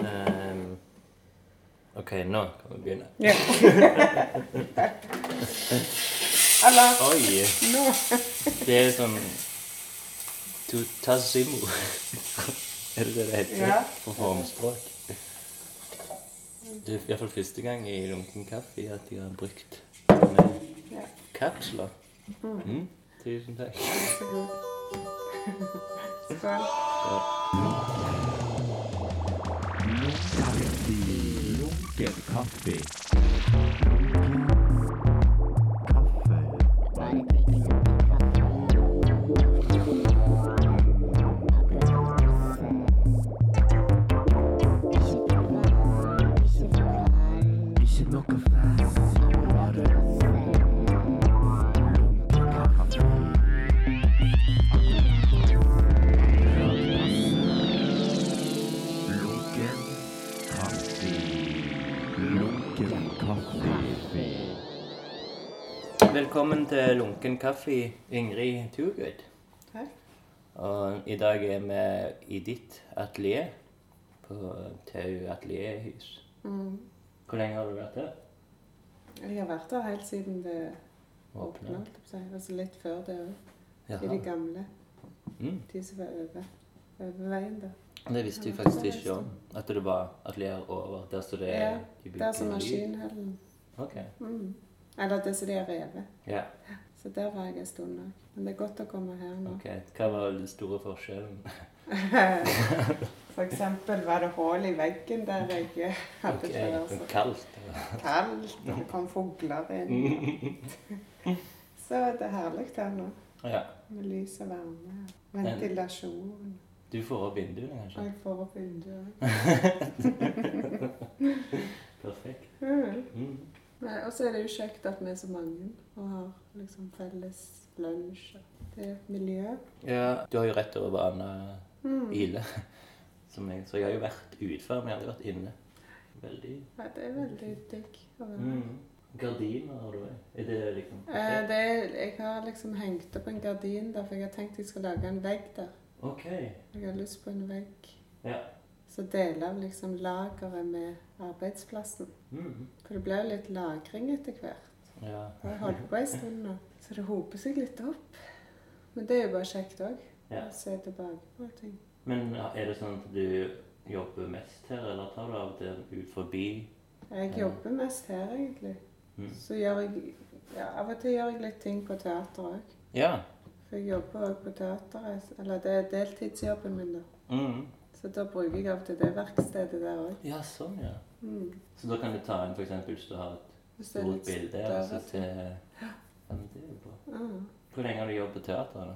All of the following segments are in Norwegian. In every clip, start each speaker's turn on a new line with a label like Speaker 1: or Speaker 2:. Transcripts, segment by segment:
Speaker 1: Ehm, OK, nå kan vi begynne.
Speaker 2: Ja. Eller
Speaker 1: Oi!
Speaker 2: nå
Speaker 1: Det er sånn Tutasimu. er det det det heter
Speaker 2: Ja.
Speaker 1: på formspråk? Det er iallfall første gang i Lunken kaffe at de har brukt sånne
Speaker 2: Ja.
Speaker 1: kapsler. Mm. Tusen takk.
Speaker 2: så god. Skål.
Speaker 3: Lunken kaffe. Ikke noe fast, bare lunken kaffe. Lunken kaffe. Lunken kaffe.
Speaker 1: Velkommen til Lunken kaffe, Ingrid Turgud.
Speaker 2: Takk.
Speaker 1: Og i dag er vi i ditt atelier på Tau Atelierhus.
Speaker 2: Mm.
Speaker 1: Hvor lenge har du vært der?
Speaker 2: Jeg har vært der helt siden det åpna.
Speaker 1: Åpnet.
Speaker 2: Altså litt før det òg. I
Speaker 1: Jaha.
Speaker 2: det gamle.
Speaker 1: Mm.
Speaker 2: De som var over, over veien der.
Speaker 1: Det visste jeg faktisk ikke om. At det var atelier over der som det er
Speaker 2: Ja,
Speaker 1: de bygger
Speaker 2: Der som
Speaker 1: ny.
Speaker 2: maskinhallen.
Speaker 1: Ok.
Speaker 2: Mm. Eller det som de har revet.
Speaker 1: Ja,
Speaker 2: Så der var jeg en stund òg. Men det er godt å komme her nå.
Speaker 1: ok. Hva var den store forskjellen?
Speaker 2: For eksempel var det hull i veggen der jeg eh, hadde
Speaker 1: Ok,
Speaker 2: før.
Speaker 1: det
Speaker 2: så
Speaker 1: var kaldt.
Speaker 2: kaldt, og det kom fugler inn. Så det er herlig her nå,
Speaker 1: Ja.
Speaker 2: med lys og varme. Ventilasjon.
Speaker 1: Du får opp vinduene,
Speaker 2: Og
Speaker 1: kanskje?
Speaker 2: jeg får opp vinduet.
Speaker 1: Perfekt.
Speaker 2: Mm.
Speaker 1: Mm.
Speaker 2: Nei, Og så er det jo kjekt at vi er så mange og har liksom felles lunsj. Det er et miljø.
Speaker 1: Ja, du har jo rett over Anna
Speaker 2: Mm.
Speaker 1: Ile. Som jeg, så jeg har jo vært utenfor, men jeg har aldri vært inne. Veldig
Speaker 2: Ja, det er veldig digg å være her.
Speaker 1: mm. Gardiner har du òg. Er det liksom
Speaker 2: Eh, det er, jeg har liksom hengt opp en gardin der, for jeg har tenkt jeg skal lage en vegg der.
Speaker 1: OK.
Speaker 2: Jeg har lyst på en vegg.
Speaker 1: Ja.
Speaker 2: Så deler av liksom lageret med arbeidsplassen.
Speaker 1: Mm.
Speaker 2: For det ble jo litt lagring etter hvert.
Speaker 1: ja.
Speaker 2: Jeg har holdt på en stund nå, så det hoper seg litt opp. Men det er jo bare kjekt òg.
Speaker 1: Ja.
Speaker 2: Å se tilbake på ting.
Speaker 1: Men er det sånn at du jobber mest her, eller tar du av og til ut forbi?
Speaker 2: Jeg
Speaker 1: Ja.
Speaker 2: jobber mest her, egentlig.
Speaker 1: Mm.
Speaker 2: Så gjør jeg ja, Av og til gjør jeg litt ting på teater òg.
Speaker 1: Ja.
Speaker 2: For jeg jobber òg på teateret. Eller det er deltidsjobben min, da.
Speaker 1: Mm.
Speaker 2: Så da bruker jeg av og til det verkstedet der òg.
Speaker 1: Ja, sånn, ja.
Speaker 2: Mm.
Speaker 1: Så da kan du ta inn f.eks. hvis du har et
Speaker 2: Hvis det er
Speaker 1: stort
Speaker 2: litt
Speaker 1: bilde og så
Speaker 2: større.
Speaker 1: til Ja, men det er jo bra.
Speaker 2: Ja.
Speaker 1: Hvor lenge har du jobbet på teater, da?
Speaker 2: ah,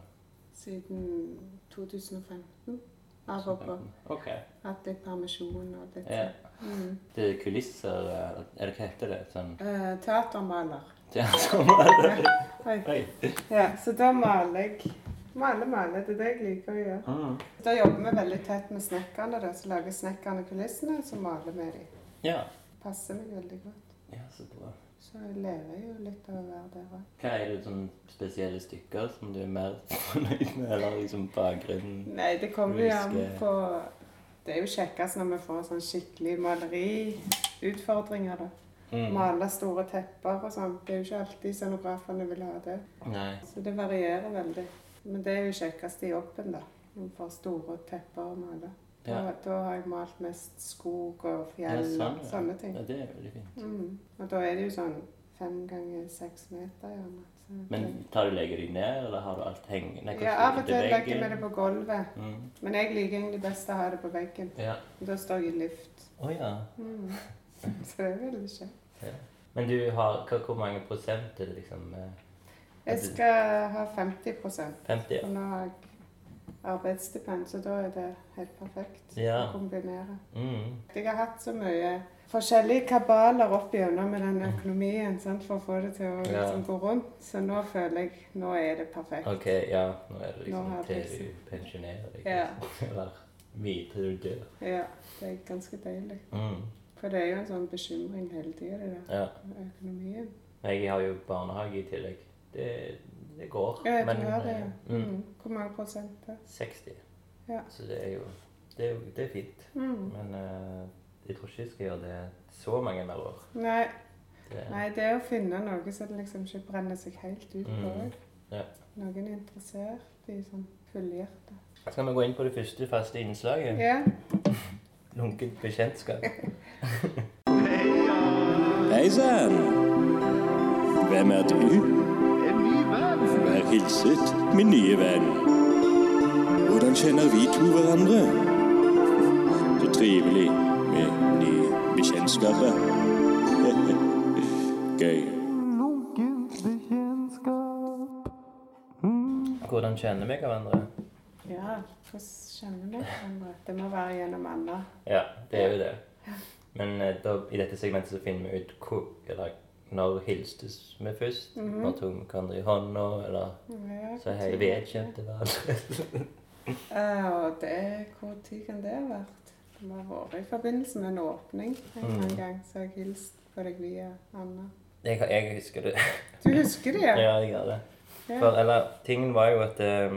Speaker 2: Siden 2015. Av og på.
Speaker 1: OK.
Speaker 2: Hatt litt permisjon og litt
Speaker 1: Ja.
Speaker 2: mm.
Speaker 1: Det er kulisser eh, Er det hva heter det? Sånn
Speaker 2: Eh, Teatermaler.
Speaker 1: teatermaler?
Speaker 2: Oi.
Speaker 1: Oi.
Speaker 2: Ja, så da maler jeg. Maler, maler. Det er det jeg liker å gjøre.
Speaker 1: Mm.
Speaker 2: Da jobber vi veldig tett med snekkerne. da, Så lager snekkerne kulissene, og så maler vi dem.
Speaker 1: Ja.
Speaker 2: Passer meg veldig godt.
Speaker 1: ja, så bra.
Speaker 2: Så jeg lever jo litt av å være der òg.
Speaker 1: Hva er det sånn spesielle stykker som du er mer fornøyd med, eller liksom bakgrunnen?
Speaker 2: Nei, det kommer jo an
Speaker 1: Husker-
Speaker 2: på Det er jo kjekkest når vi får sånn skikkelig maleriutfordringer, da.
Speaker 1: Mm.
Speaker 2: Male store tepper og sånn. Det er jo ikke alltid scenografene vil ha det.
Speaker 1: Nei.
Speaker 2: Så det varierer veldig. Men det er jo kjekkest i jobben, da. Når vi får store tepper å male.
Speaker 1: Ja.
Speaker 2: Da, da har jeg malt mest skog og fjell
Speaker 1: Ja,
Speaker 2: og
Speaker 1: sånn, ja.
Speaker 2: sånne ting.
Speaker 1: ja, det er veldig fint.
Speaker 2: Mm. Og da er det jo sånn fem ganger seks meter, gjerne. Så
Speaker 1: Men tar du legger deg ned, eller har du alt hengende? Nei,
Speaker 2: det-
Speaker 1: hvordan
Speaker 2: ja, av og til
Speaker 1: ligger
Speaker 2: legger vi
Speaker 1: veggen?
Speaker 2: det på gulvet.
Speaker 1: Mm.
Speaker 2: Men jeg liker egentlig best å ha det på veggen.
Speaker 1: Ja.
Speaker 2: Da står jeg i lift.
Speaker 1: Å ja.
Speaker 2: Mm. Så det er veldig kjekt.
Speaker 1: Men du har hva, Hvor mange prosent er det liksom eh,
Speaker 2: Jeg skal ha 50
Speaker 1: 50, ja?
Speaker 2: og nå har jeg arbeidsstipend, så da er det helt perfekt
Speaker 1: Ja.
Speaker 2: å kombinere.
Speaker 1: Mm.
Speaker 2: Jeg har hatt så mye forskjellige kabaler opp igjennom med den økonomien sant, for å få det til å
Speaker 1: Ja.
Speaker 2: liksom, gå rundt. Så nå føler jeg nå er det perfekt.
Speaker 1: OK, ja. Nå er det liksom
Speaker 2: Nå har jeg
Speaker 1: til
Speaker 2: liksom-
Speaker 1: du pensjonerer deg. liksom.
Speaker 2: Ja.
Speaker 1: Eller mye til du dør.
Speaker 2: Ja, det er ganske deilig.
Speaker 1: Mm.
Speaker 2: For det er jo en sånn bekymring hele tida, det der
Speaker 1: Ja.
Speaker 2: med økonomien.
Speaker 1: Jeg har jo barnehage i tillegg. Det, det går.
Speaker 2: Ja, jeg
Speaker 1: men,
Speaker 2: tror det.
Speaker 1: eh,
Speaker 2: ja.
Speaker 1: mm,
Speaker 2: Mm. Hvor mange prosent? er det?
Speaker 1: 60.
Speaker 2: Ja.
Speaker 1: Så det er jo Det, er jo- det er fint.
Speaker 2: Mm.
Speaker 1: Men eh, jeg tror ikke jeg skal gjøre det så mange mer år.
Speaker 2: Nei,
Speaker 1: Det,
Speaker 2: nei, det er å finne noe som liksom ikke brenner seg helt ut på.
Speaker 1: Mm, ja.
Speaker 2: Noen er interessert i sånn fullhjerte.
Speaker 1: Skal vi gå inn på det første faste innslaget?
Speaker 2: Ja.
Speaker 1: Lunkent bekjentskap.
Speaker 4: Hei sann! Hvem er du? Vær hilset, min nye venn. Hvordan kjenner vi to hverandre? Så trivelig med nye bekjentskaper. Gøy.
Speaker 1: Hvordan kjenner vi hverandre?
Speaker 2: ja. Hvordan kjenner vi hverandre? Det må være gjennom Anna.
Speaker 1: Ja, det er jo det. Men eh, da, i dette segmentet så finner vi ut hvor, eller når hilstes vi først.
Speaker 2: Mhm.
Speaker 1: Når tok vi hverandre i hånda, eller
Speaker 2: Ja,
Speaker 1: så hei,
Speaker 2: hvor tid-
Speaker 1: vedkjente hverandre.
Speaker 2: Eh, og det, hvor tid kan det ha vært? Det må ha vært i forbindelse med en åpning en eller
Speaker 1: Mm.
Speaker 2: annen gang, så jeg hilste på deg via Anna.
Speaker 1: Jeg, har- jeg husker det.
Speaker 2: Du husker det, ja?
Speaker 1: Ja, jeg gjør det.
Speaker 2: Ja.
Speaker 1: For, eller, tingen var jo at eh,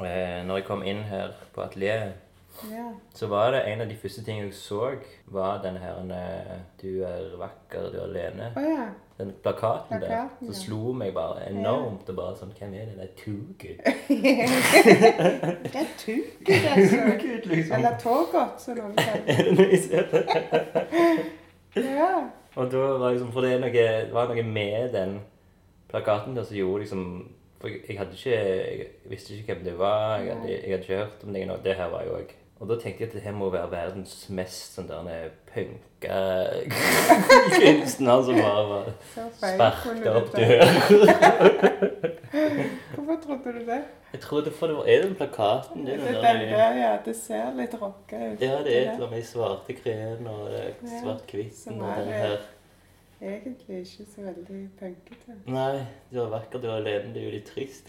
Speaker 1: eh, når jeg kom inn her på atelieret,
Speaker 2: ja.
Speaker 1: så var det en av de første tingene jeg så, var den her eh, 'Du er vakker, du er alene'.
Speaker 2: Å ja.
Speaker 1: Den plakaten der.
Speaker 2: Plakaten,
Speaker 1: Så
Speaker 2: ja.
Speaker 1: slo meg bare enormt. Og bare sånn Hvem er det? Det er Tugud.
Speaker 2: Det er tuget, altså. Eller togot, som noen kaller det. Ja.
Speaker 1: Og da var liksom For det er noe, det var noe med den plakaten der som gjorde liksom For jeg, jeg hadde ikke Jeg visste ikke hvem det var. Jeg hadde, jeg hadde ikke hørt om det. nå, Det her var jo òg Og da tenkte jeg at det her må være verdens mest sånn der punka kunstner som bare var
Speaker 2: Så feil
Speaker 1: sparka
Speaker 2: kunne du
Speaker 1: opp
Speaker 2: ta.
Speaker 1: døren.
Speaker 2: Hvorfor trodde du det?
Speaker 1: Jeg trodde for det var Er den plakaten?
Speaker 2: Det
Speaker 1: Det er den
Speaker 2: er den
Speaker 1: der
Speaker 2: der, ja. Det ser litt rocka ut.
Speaker 1: Ja, det er et eller annet i svarte krem og det er
Speaker 2: Ja,
Speaker 1: svart-hvitten
Speaker 2: som
Speaker 1: og
Speaker 2: er
Speaker 1: den
Speaker 2: det.
Speaker 1: her
Speaker 2: Egentlig ikke så veldig punkete.
Speaker 1: Nei, du er vakker, du er alene, det er jo litt trist.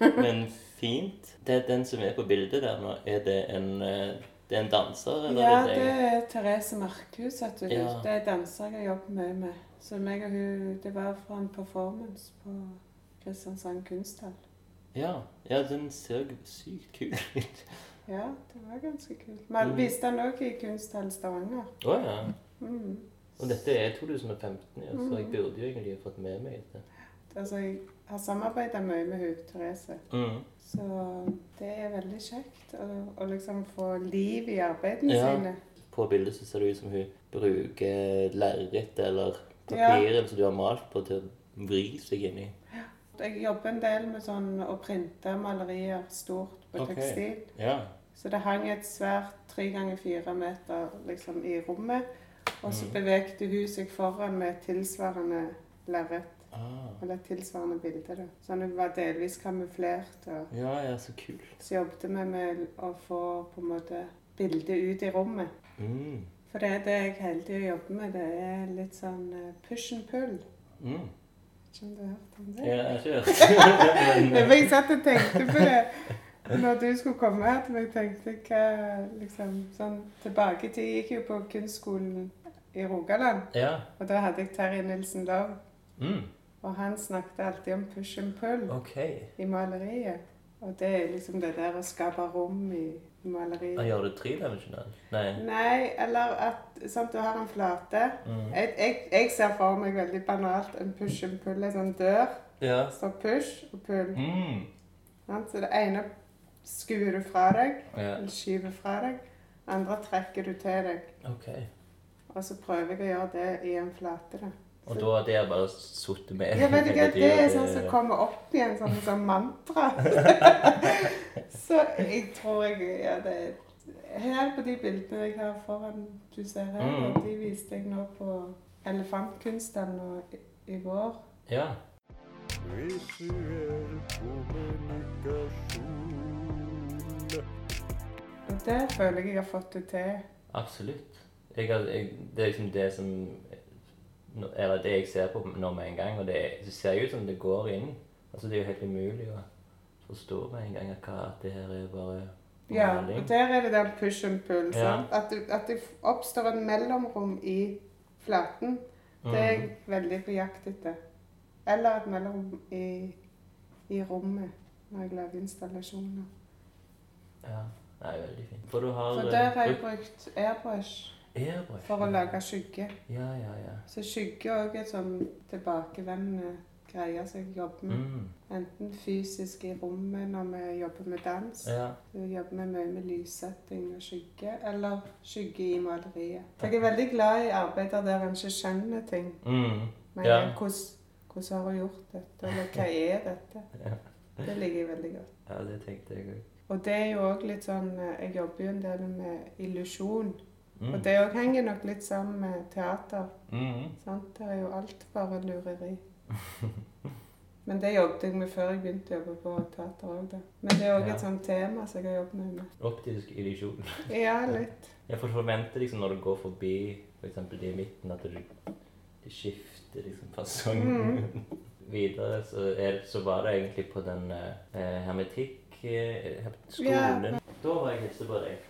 Speaker 1: Men fint. Det er den som er på bildet der nå. Er det en, eh, det er en danser, eller
Speaker 2: Ja,
Speaker 1: er det
Speaker 2: det
Speaker 1: deg?
Speaker 2: er Therese Markhus, vet du.
Speaker 1: Ja.
Speaker 2: Det er danser jeg har jobbet mye med. Så meg og hun, det var fra en performance på Kristiansand kunsthall.
Speaker 1: Ja, ja, den ser jo sykt kul ut.
Speaker 2: Ja, det var ganske kult. Man
Speaker 1: Mm.
Speaker 2: viste den også i kunsthall Stavanger.
Speaker 1: Å ja.
Speaker 2: Mm.
Speaker 1: Og dette er 2015, ja, så jeg burde jo egentlig ha fått med meg det.
Speaker 2: Altså, jeg har samarbeidet mye med hun, Therese.
Speaker 1: Mm.
Speaker 2: Så det er veldig kjekt å, å liksom få liv i arbeidene
Speaker 1: Ja.
Speaker 2: sine.
Speaker 1: På bildet så ser det ut som hun bruker lerret eller
Speaker 2: Ja.
Speaker 1: papiret som du har malt på, til å vri seg inn i.
Speaker 2: Jeg jobber en del med sånn å printe malerier stort på
Speaker 1: Ok.
Speaker 2: tekstil.
Speaker 1: Ja.
Speaker 2: Så det hang et svært tre ganger fire meter liksom, i rommet. Og så bevegde hun seg foran med et tilsvarende lerret,
Speaker 1: Ah.
Speaker 2: eller et tilsvarende bilde. Da. Sånn hun var delvis kamuflert. Og
Speaker 1: Ja, ja, så kul.
Speaker 2: så jobbet vi med å få på en måte bildet ut i rommet.
Speaker 1: Mm.
Speaker 2: For det er det jeg hele tiden jobber med. Det er litt sånn eh, push and pull.
Speaker 1: Mm.
Speaker 2: Ikke om du har hørt om det?
Speaker 1: Ja, jeg ser. Men,
Speaker 2: Men jeg satt og tenkte på det når du skulle komme her. til meg, tenkte jeg hva liksom, sånn, Tilbake i tid jeg gikk jo på kunstskolen i Rogaland.
Speaker 1: ja.
Speaker 2: Og da hadde jeg Terje Nilsen Love.
Speaker 1: Mm.
Speaker 2: Og han snakket alltid om push and pull
Speaker 1: Ok.
Speaker 2: i maleriet. Og det er liksom det der å skape rom i i
Speaker 1: Han
Speaker 2: maleriet.
Speaker 1: gjør det tredimensjonalt? Nei.
Speaker 2: Nei, eller at sant, du har en flate.
Speaker 1: Mm.
Speaker 2: Jeg, jeg, jeg ser for meg veldig banalt en push and pull, en sånn dør.
Speaker 1: Ja.
Speaker 2: Det står push og pull.
Speaker 1: Mm.
Speaker 2: sant? Så det ene skuer du fra deg.
Speaker 1: Ja.
Speaker 2: Eller skyver fra deg. Andre trekker du til deg.
Speaker 1: Ok.
Speaker 2: Og så prøver jeg å gjøre det i en flate. da.
Speaker 1: Og da har det bare sittet med
Speaker 2: Jeg vet ikke,
Speaker 1: hele
Speaker 2: Det er
Speaker 1: tiden.
Speaker 2: sånn som kommer opp igjen som sånn, sånn mantra. så jeg tror jeg ja, det er- Her på de bildene jeg har foran du ser her,
Speaker 1: Mm.
Speaker 2: og de viste jeg nå på Elefantkunsten nå i, i vår.
Speaker 1: Ja.
Speaker 2: Og der føler jeg jeg har fått det til.
Speaker 1: Absolutt. Jeg, har- jeg, det er liksom det som nå- Eller det jeg ser på nå med en gang, og det, det ser jo ut som det går inn. Altså, det er jo helt umulig å forstå med en gang at hva- at det her er bare
Speaker 2: Ja,
Speaker 1: maling.
Speaker 2: og der er det den push and pull.
Speaker 1: Ja.
Speaker 2: Sant? At, du, at det oppstår en mellomrom i flaten.
Speaker 1: Mm.
Speaker 2: Det er jeg veldig på jakt etter. Eller et mellomrom i, i rommet når jeg lager installasjoner.
Speaker 1: Ja. Nei, veldig fint. For du har
Speaker 2: For
Speaker 1: eh,
Speaker 2: der har jeg
Speaker 1: brukt
Speaker 2: brukt airbrush
Speaker 1: airbrush.
Speaker 2: for å lage skygge.
Speaker 1: Ja, ja, ja.
Speaker 2: Så skygge er også et sånn tilbakevendende greie som jeg jobber med.
Speaker 1: Mm.
Speaker 2: Enten fysisk i rommet når vi jobber med dans,
Speaker 1: ja.
Speaker 2: så jobber vi mye med lyssetting og skygge, eller skygge i maleriet. Så Jeg er veldig glad i arbeider der en ikke skjønner ting.
Speaker 1: Mm.
Speaker 2: Men
Speaker 1: Ja.
Speaker 2: hvordan, hvordan har hun gjort dette, eller hva er dette?
Speaker 1: Ja.
Speaker 2: Det liker jeg veldig godt.
Speaker 1: ja, det tenkte jeg òg.
Speaker 2: Og det er jo òg litt sånn eh, Jeg jobber jo en del med illusjon.
Speaker 1: Mm.
Speaker 2: Og det òg henger nok litt sammen med teater.
Speaker 1: Mm.
Speaker 2: sant? Det er jo alt bare lureri. Men det jobbet jeg med før jeg begynte å jobbe på teater òg, da. Men det er òg
Speaker 1: Ja.
Speaker 2: et sånt tema som jeg har jobbet mye med.
Speaker 1: Optisk illusjon.
Speaker 2: Ja, litt.
Speaker 1: Jeg får forvente liksom når du går forbi f.eks. For de i midten, at du, du skifter liksom fasong. Mm. Videre så, er, så var det egentlig på den eh, hermetikk eh, skolen. Da var jeg hilse på deg.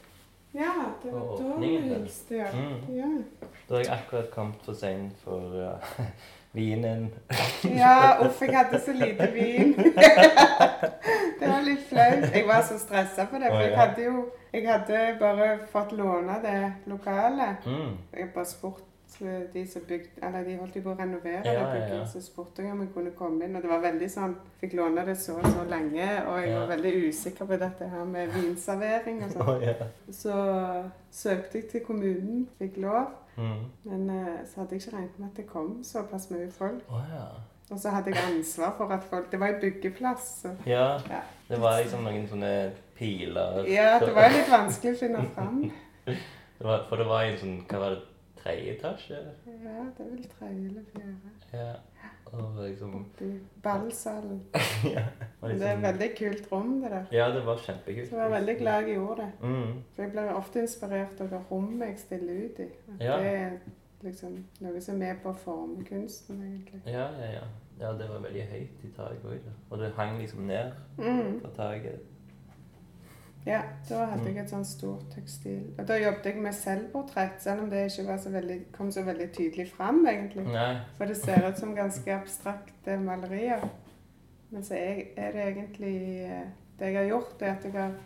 Speaker 2: Ja, det var
Speaker 1: Og
Speaker 2: da vi
Speaker 1: åpningen, den.
Speaker 2: hilste, ja.
Speaker 1: Mm.
Speaker 2: ja.
Speaker 1: Da har jeg akkurat kommet for seint for eh, vinen.
Speaker 2: Ja, uff, jeg hadde så lite vin. det var litt flaut. Jeg var så stressa for det,
Speaker 1: Å,
Speaker 2: for jeg
Speaker 1: ja.
Speaker 2: hadde jo Jeg hadde bare fått låne det lokalet.
Speaker 1: Mm.
Speaker 2: Jeg har bare spurt eh, de som bygde Eller de holdt jo på å renovere
Speaker 1: Ja,
Speaker 2: det
Speaker 1: ja,
Speaker 2: bygget,
Speaker 1: ja.
Speaker 2: så spurte jeg om jeg kunne komme inn. Og det var veldig sånn Fikk låne det så og så lenge, og jeg
Speaker 1: Ja.
Speaker 2: var veldig usikker på dette her med vinservering og sånn.
Speaker 1: Å, ja.
Speaker 2: Så søkte jeg til kommunen, fikk lov.
Speaker 1: Mm.
Speaker 2: Men eh, så hadde jeg ikke regnet med at det kom såpass mye folk.
Speaker 1: Å, ja.
Speaker 2: Og så hadde jeg ansvar for at folk Det var en byggeplass. Så.
Speaker 1: ja.
Speaker 2: Ja.
Speaker 1: Det var liksom noen sånne piler
Speaker 2: ja, det var litt vanskelig å finne fram.
Speaker 1: Det var- For det var i en sånn Hva var det? Tredje etasje?
Speaker 2: Ja, det er vel tredje eller fjerde.
Speaker 1: Ja. Og liksom
Speaker 2: Borti Ballsalen.
Speaker 1: Ja. Og
Speaker 2: Men Det er et
Speaker 1: liksom
Speaker 2: veldig kult rom, det der.
Speaker 1: Ja, det var kjempekult.
Speaker 2: Så jeg var veldig glad jeg gjorde det.
Speaker 1: Mm.
Speaker 2: For jeg blir ofte inspirert av det rommet jeg stiller ut i. At
Speaker 1: Ja.
Speaker 2: Det er liksom noe som er med på å forme kunsten, egentlig.
Speaker 1: Ja, ja, ja. Ja, det var veldig høyt i taket òg. Og det hang liksom ned
Speaker 2: Mm.
Speaker 1: fra taket.
Speaker 2: Ja, da hadde jeg et sånn stort tekstil. Og da jobbet jeg med selvportrett, selv om det ikke var så veldig, kom så veldig tydelig fram, egentlig.
Speaker 1: Nei.
Speaker 2: For det ser ut som ganske abstrakte malerier. Men så er er det egentlig eh, Det jeg har gjort, det er at jeg har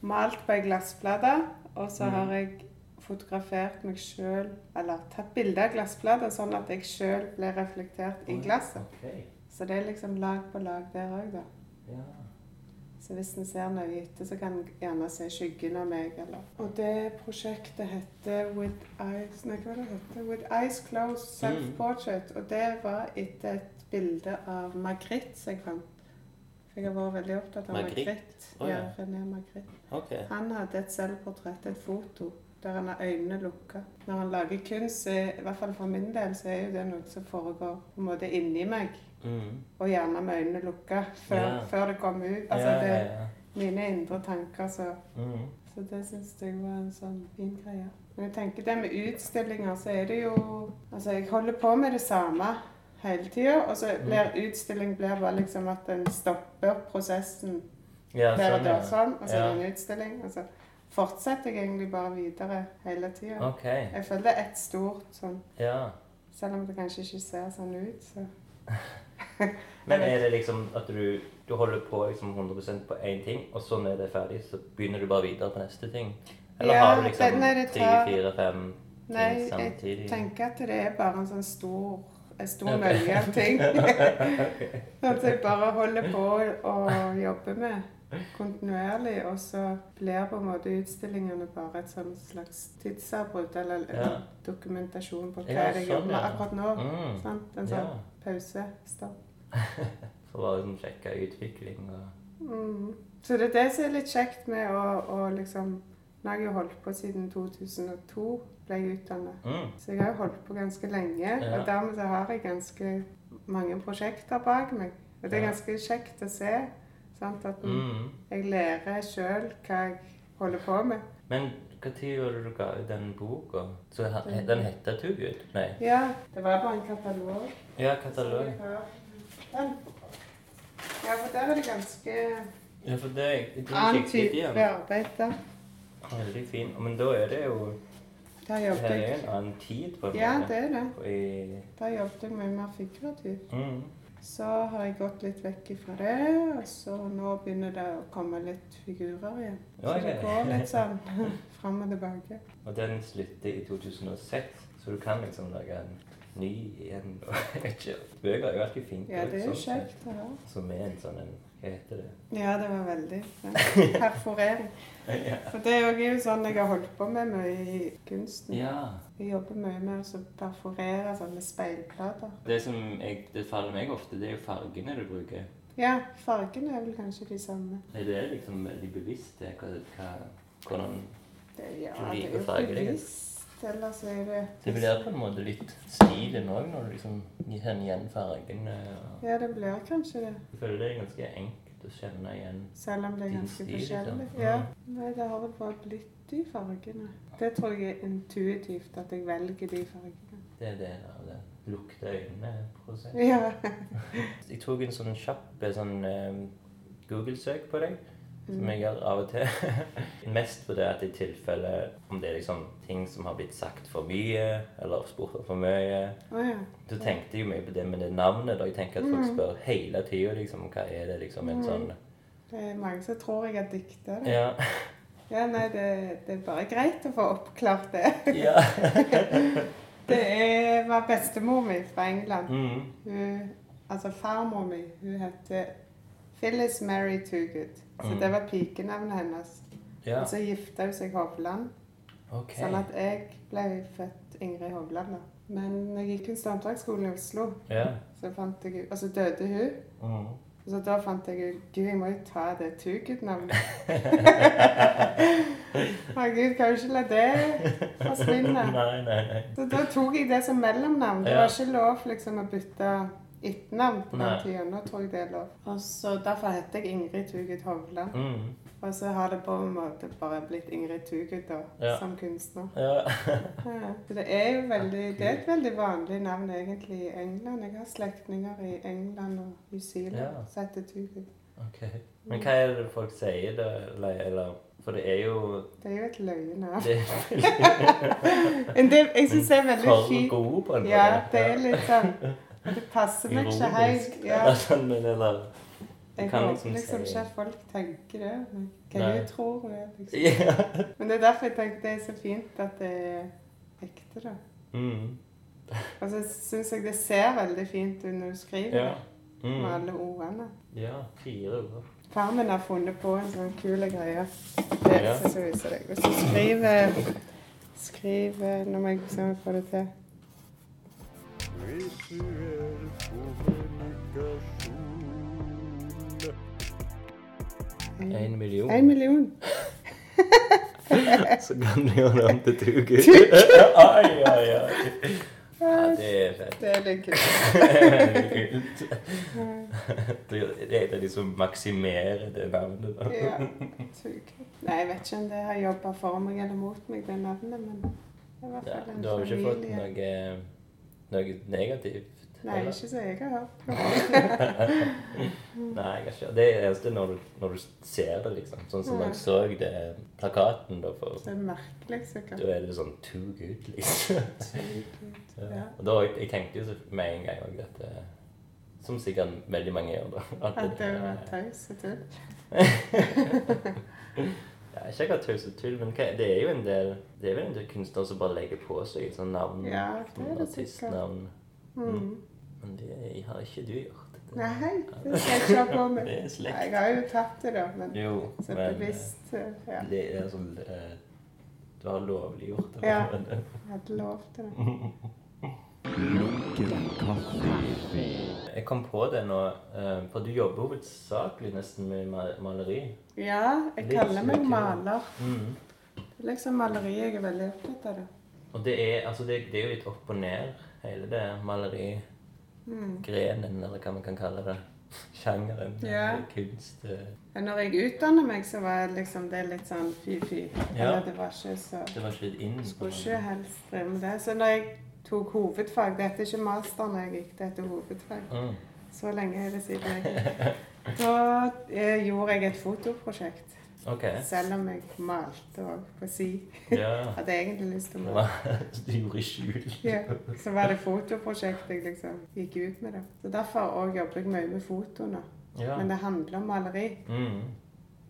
Speaker 2: malt på ei glassplate, og så
Speaker 1: Mhm.
Speaker 2: har jeg fotografert meg sjøl, eller tatt bilde av glassplata, sånn at jeg sjøl blir reflektert i glasset.
Speaker 1: Ok.
Speaker 2: Så det er liksom lag på lag der òg, da.
Speaker 1: Ja.
Speaker 2: Så hvis en ser nøye etter, så kan en gjerne se skyggen av meg. Eller. Og det prosjektet heter With Eyes Nei, hva var det heter? With Eyes Closed Self-Portrait.
Speaker 1: Mm.
Speaker 2: Og det var etter et bilde av Magritte som jeg fant. For jeg har vært veldig opptatt av
Speaker 1: Magritte?
Speaker 2: Magritte.
Speaker 1: Å,
Speaker 2: ja.
Speaker 1: ja.
Speaker 2: René Magritte.
Speaker 1: Ok.
Speaker 2: Han hadde et selvportrett, et foto, der han har øynene lukka. Når han lager kunst, så er, i hvert fall for min del, så er jo det noe som foregår på en måte inni meg.
Speaker 1: Mm.
Speaker 2: Og gjerne med øynene lukka før,
Speaker 1: Ja.
Speaker 2: før det kommer ut. Altså,
Speaker 1: Ja,
Speaker 2: det,
Speaker 1: ja, ja.
Speaker 2: mine indre tanker. Så,
Speaker 1: Mm.
Speaker 2: så det syns jeg var en sånn fin greie. Men jeg tenker det med utstillinger, så er det jo Altså, jeg holder på med det samme hele tida, og så
Speaker 1: Mm.
Speaker 2: blir utstilling blir bare liksom at en stopper prosessen
Speaker 1: Ja,
Speaker 2: der og
Speaker 1: sånn,
Speaker 2: da,
Speaker 1: ja.
Speaker 2: sånn, og så er
Speaker 1: Ja.
Speaker 2: det en utstilling. Og så fortsetter jeg egentlig bare videre hele tida.
Speaker 1: Ok.
Speaker 2: Jeg føler det er ett stort sånn
Speaker 1: Ja.
Speaker 2: Selv om det kanskje ikke ser sånn ut, så
Speaker 1: Men er det liksom at du, du holder på liksom 100 på én ting, og så når det er ferdig, så begynner du bare videre på neste ting? Eller
Speaker 2: Ja,
Speaker 1: har du liksom
Speaker 2: den er det
Speaker 1: tre,
Speaker 2: tar-
Speaker 1: fire, fem ting
Speaker 2: Nei,
Speaker 1: samtidig?
Speaker 2: jeg tenker at det er bare en sånn stor en stor
Speaker 1: Ok.
Speaker 2: mølje av ting. Sånn at jeg bare holder på og jobber med kontinuerlig. Og så blir på en måte utstillingene bare et sånn slags tidsavbrudd eller
Speaker 1: Ja.
Speaker 2: dokumentasjon på hva
Speaker 1: Ja,
Speaker 2: jeg
Speaker 1: sånn,
Speaker 2: jobber med
Speaker 1: ja.
Speaker 2: akkurat nå.
Speaker 1: Mm.
Speaker 2: Sant? En sånn
Speaker 1: Ja.
Speaker 2: pause. Stopp.
Speaker 1: For bare liksom sjekke utvikling og
Speaker 2: Mm. Så det er det som er litt kjekt med å, å liksom Nå har jeg jo holdt på siden 2002 ble jeg utdannet.
Speaker 1: mm.
Speaker 2: Så jeg har jo holdt på ganske lenge,
Speaker 1: Ja.
Speaker 2: og dermed så har jeg ganske mange prosjekter bak meg. Og det er
Speaker 1: Ja.
Speaker 2: ganske kjekt å se sant? at en-
Speaker 1: Mm.
Speaker 2: jeg lærer sjøl hva jeg holder på med.
Speaker 1: Men når var det du ga ut den boka? Så he- he- Den heter Tugud? Nei.
Speaker 2: Ja, det var bare en katalog.
Speaker 1: Ja,
Speaker 2: som
Speaker 1: katalog.
Speaker 2: jeg har. Den. Ja, for der er det ganske
Speaker 1: Ja, for det er det er
Speaker 2: annen
Speaker 1: riktig,
Speaker 2: type
Speaker 1: ja.
Speaker 2: arbeid. da.
Speaker 1: Veldig fin. Men da er det jo
Speaker 2: Der
Speaker 1: Her
Speaker 2: jobbet
Speaker 1: er jo
Speaker 2: jeg
Speaker 1: en annen tid, på en
Speaker 2: Ja,
Speaker 1: måte.
Speaker 2: det er det.
Speaker 1: I,
Speaker 2: Der jobbet jeg mye mer figurativt.
Speaker 1: mm.
Speaker 2: Så har jeg gått litt vekk ifra det, og så nå begynner det å komme litt figurer igjen. Så
Speaker 1: Ja,
Speaker 2: det
Speaker 1: ja.
Speaker 2: går litt sånn fram og tilbake.
Speaker 1: Og den slutter i 2006, så du kan liksom lage en ny en. Jeg vet ikke. Bøker er jo alltid fint.
Speaker 2: Ja, det er jo
Speaker 1: sånn sett.
Speaker 2: kjekt å høre.
Speaker 1: Som er en sånn en Hva heter det?
Speaker 2: Ja, det var veldig. Ja. Perforering.
Speaker 1: Ja.
Speaker 2: For det er jo- er jo sånn jeg har holdt på med mye i kunsten.
Speaker 1: ja.
Speaker 2: Jeg jobber mye med å så perforere sånne speilplater.
Speaker 1: Det som jeg, det faller meg ofte, det er jo fargene du bruker.
Speaker 2: Ja, fargene er vel kanskje de samme.
Speaker 1: Er det liksom veldig bevisst det? Hva, hva, hvordan
Speaker 2: Det, ja,
Speaker 1: Du
Speaker 2: det
Speaker 1: liker
Speaker 2: er jo
Speaker 1: farger, ikke?
Speaker 2: bevisst. Ellers er det
Speaker 1: Det blir på en måte litt stilen òg, når du liksom kjenner igjen fargene. og-
Speaker 2: Ja, det blir kanskje det.
Speaker 1: Jeg føler det er ganske enkelt å kjenne igjen.
Speaker 2: Selv om det er
Speaker 1: Din
Speaker 2: ganske
Speaker 1: stil,
Speaker 2: forskjellig.
Speaker 1: liksom.
Speaker 2: Ja.
Speaker 1: Ja.
Speaker 2: Nei, det har vel bare blitt de fargene. Det tror jeg er intuitivt, at jeg velger de fargene.
Speaker 1: Det er del av det. Lukte øynene-prosess.
Speaker 2: Ja.
Speaker 1: Jeg tok en sånn kjapp eh, sånn eh, Google-søk på deg, som jeg gjør av og til. Mest fordi at i tilfelle om det er liksom ting som har blitt sagt for mye, eller spurt om for mye.
Speaker 2: Å ja.
Speaker 1: Så tenkte jeg jo mye på det med det navnet. da. Jeg tenker at folk spør hele tida liksom, hva er det liksom en sånn
Speaker 2: Det er mange som tror jeg har dikta det.
Speaker 1: Ja.
Speaker 2: Ja, nei, det, det er bare greit å få oppklart det.
Speaker 1: ja.
Speaker 2: Det er, var bestemor mi fra England.
Speaker 1: Mm.
Speaker 2: Hun, altså farmor mi, hun heter Phyllis Mary Toogood. Så
Speaker 1: Mm.
Speaker 2: det var pikenavnet hennes.
Speaker 1: ja.
Speaker 2: Og så gifta hun seg Hovland.
Speaker 1: OK.
Speaker 2: Sånn at jeg ble født Ingrid Hovland. da. Men når jeg gikk kunst- og håndverksskolen i Oslo,
Speaker 1: Ja.
Speaker 2: så fant jeg ut Og så døde hun.
Speaker 1: Mm.
Speaker 2: Og så da fant jeg ut Gud, jeg må jo ta det Tugud-navnet. Å Gud, kan jo ikke la det forsvinne.
Speaker 1: Nei, nei, nei.
Speaker 2: Så da tok jeg det som mellomnavn. Det
Speaker 1: Ja.
Speaker 2: var ikke lov liksom å bytte etternavn på den
Speaker 1: Nei.
Speaker 2: tida. Nå tror jeg det er lov. Og så Derfor heter jeg Ingrid Tugud Hovland.
Speaker 1: Mm.
Speaker 2: Og så har det på en måte bare blitt Ingrid Tugud, da,
Speaker 1: Ja.
Speaker 2: som kunstner.
Speaker 1: Ja.
Speaker 2: Ja, Så det er jo veldig, det er et veldig vanlig navn egentlig i England. Jeg har slektninger i England og New Zealand
Speaker 1: Ja.
Speaker 2: som heter Tugu.
Speaker 1: Ok. Men hva er det folk sier da? Eller, eller For det er jo
Speaker 2: Det er jo et løgnavn.
Speaker 1: Det
Speaker 2: Men det, jeg syns det er veldig
Speaker 1: for
Speaker 2: fint.
Speaker 1: god på en måte.
Speaker 2: Ja, det er litt sånn Det passer meg ikke helt.
Speaker 1: Ironisk,
Speaker 2: Ja,
Speaker 1: eller sånn, men eller
Speaker 2: jeg
Speaker 1: kan
Speaker 2: håper
Speaker 1: liksom
Speaker 2: liksom
Speaker 1: si-
Speaker 2: ikke at folk tenker det. men Hva
Speaker 1: Nei.
Speaker 2: du tror hun er, liksom.
Speaker 1: Ja.
Speaker 2: Men det er derfor jeg tenker det er så fint at det er ekte, da.
Speaker 1: Mm.
Speaker 2: Og så syns jeg det ser veldig fint ut når du skriver
Speaker 1: Ja.
Speaker 2: det, med
Speaker 1: Mm.
Speaker 2: alle ordene.
Speaker 1: ja. Fire ord.
Speaker 2: Far min har funnet på en sånn kul greie. Det
Speaker 1: Ja.
Speaker 2: skal jeg vise deg. Hvis du skriver Skriver eh, Nå må jeg se om jeg får det til.
Speaker 5: Hvis du er på kommunikasjon
Speaker 1: Én million.
Speaker 2: En million.
Speaker 1: Så kan du gjøre det om til tugu. Ai, ai, ai. Ja, det er fett.
Speaker 2: Det er litt kult.
Speaker 1: Herregud. Det det er et av de som maksimerer det navnet. da.
Speaker 2: Ja. Tug. Nei, jeg vet ikke om det har jobba for meg eller mot meg, det navnet, men det er i hvert
Speaker 1: Ja,
Speaker 2: fall en
Speaker 1: du har jo ikke fått
Speaker 2: familie.
Speaker 1: noe, noe negativt?
Speaker 2: Nei,
Speaker 1: eller?
Speaker 2: ikke så jeg har hørt.
Speaker 1: Nei, jeg har ikke. Det er det eneste når du, når du ser det, liksom. Sånn som
Speaker 2: Ja.
Speaker 1: jeg så det plakaten, da. For,
Speaker 2: Det er merkelig, sikkert.
Speaker 1: da er det sånn too good, liksom.
Speaker 2: Tug. Ja.
Speaker 1: Ja. Og da, jeg tenkte jo så med en gang òg dette Som sikkert veldig mange gjør, da.
Speaker 2: At det var
Speaker 1: er-
Speaker 2: taus og tull.
Speaker 1: Ja, ikke akkurat tøys og tull, men hva, det er jo en del Det er vel en del kunstnere som bare legger på seg et sånt navn.
Speaker 2: Ja, det er det sikkert.
Speaker 1: artistnavn.
Speaker 2: Mm.
Speaker 1: Men det har ikke du gjort. Det-
Speaker 2: Nei, det skal jeg ikke ha på meg.
Speaker 1: Det er slekt.
Speaker 2: Nei, Jeg har jo tatt det, da, men
Speaker 1: Jo,
Speaker 2: så
Speaker 1: men
Speaker 2: bevisst eh, ja.
Speaker 1: eh, det er sånn eh, Du har lovliggjort det.
Speaker 2: Ja.
Speaker 1: men, eh,
Speaker 2: Jeg hadde lov til
Speaker 1: Mhm.
Speaker 2: det.
Speaker 3: Lunken kaffe.
Speaker 1: Jeg kom på det nå, eh, for du jobber hovedsakelig nesten med ma- maleri.
Speaker 2: Ja, jeg
Speaker 1: Litt
Speaker 2: kaller meg
Speaker 1: smykke.
Speaker 2: maler.
Speaker 1: Mhm.
Speaker 2: Det er liksom maleri jeg er veldig opptatt av. da.
Speaker 1: Og det er, altså det, det er jo litt opp og ned, hele det malerigrenen, eller hva man kan kalle det. Sjangeren.
Speaker 2: Ja.
Speaker 1: eller Kunst. eh.
Speaker 2: Men når jeg utdanner meg, så var jeg liksom det litt sånn fy-fy.
Speaker 1: Ja.
Speaker 2: Eller det var ikke så
Speaker 1: Det var ikke litt inn. på
Speaker 2: Skulle
Speaker 1: det.
Speaker 2: ikke helst drive med det. Så når jeg tok hovedfag Det heter ikke master når jeg gikk, det heter hovedfag.
Speaker 1: Mm.
Speaker 2: Så lenge er det siden jeg Da eh, gjorde jeg et fotoprosjekt.
Speaker 1: OK.
Speaker 2: Selv om jeg malte òg på si.
Speaker 1: Ja.
Speaker 2: Hadde egentlig lyst til å male.
Speaker 1: Så du gjorde i skjul.
Speaker 2: Ja, så var det fotoprosjektet jeg liksom gikk ut med. det. Så Derfor òg jobber jeg mye med foto nå.
Speaker 1: Ja.
Speaker 2: Men det handler om maleri.
Speaker 1: Mm.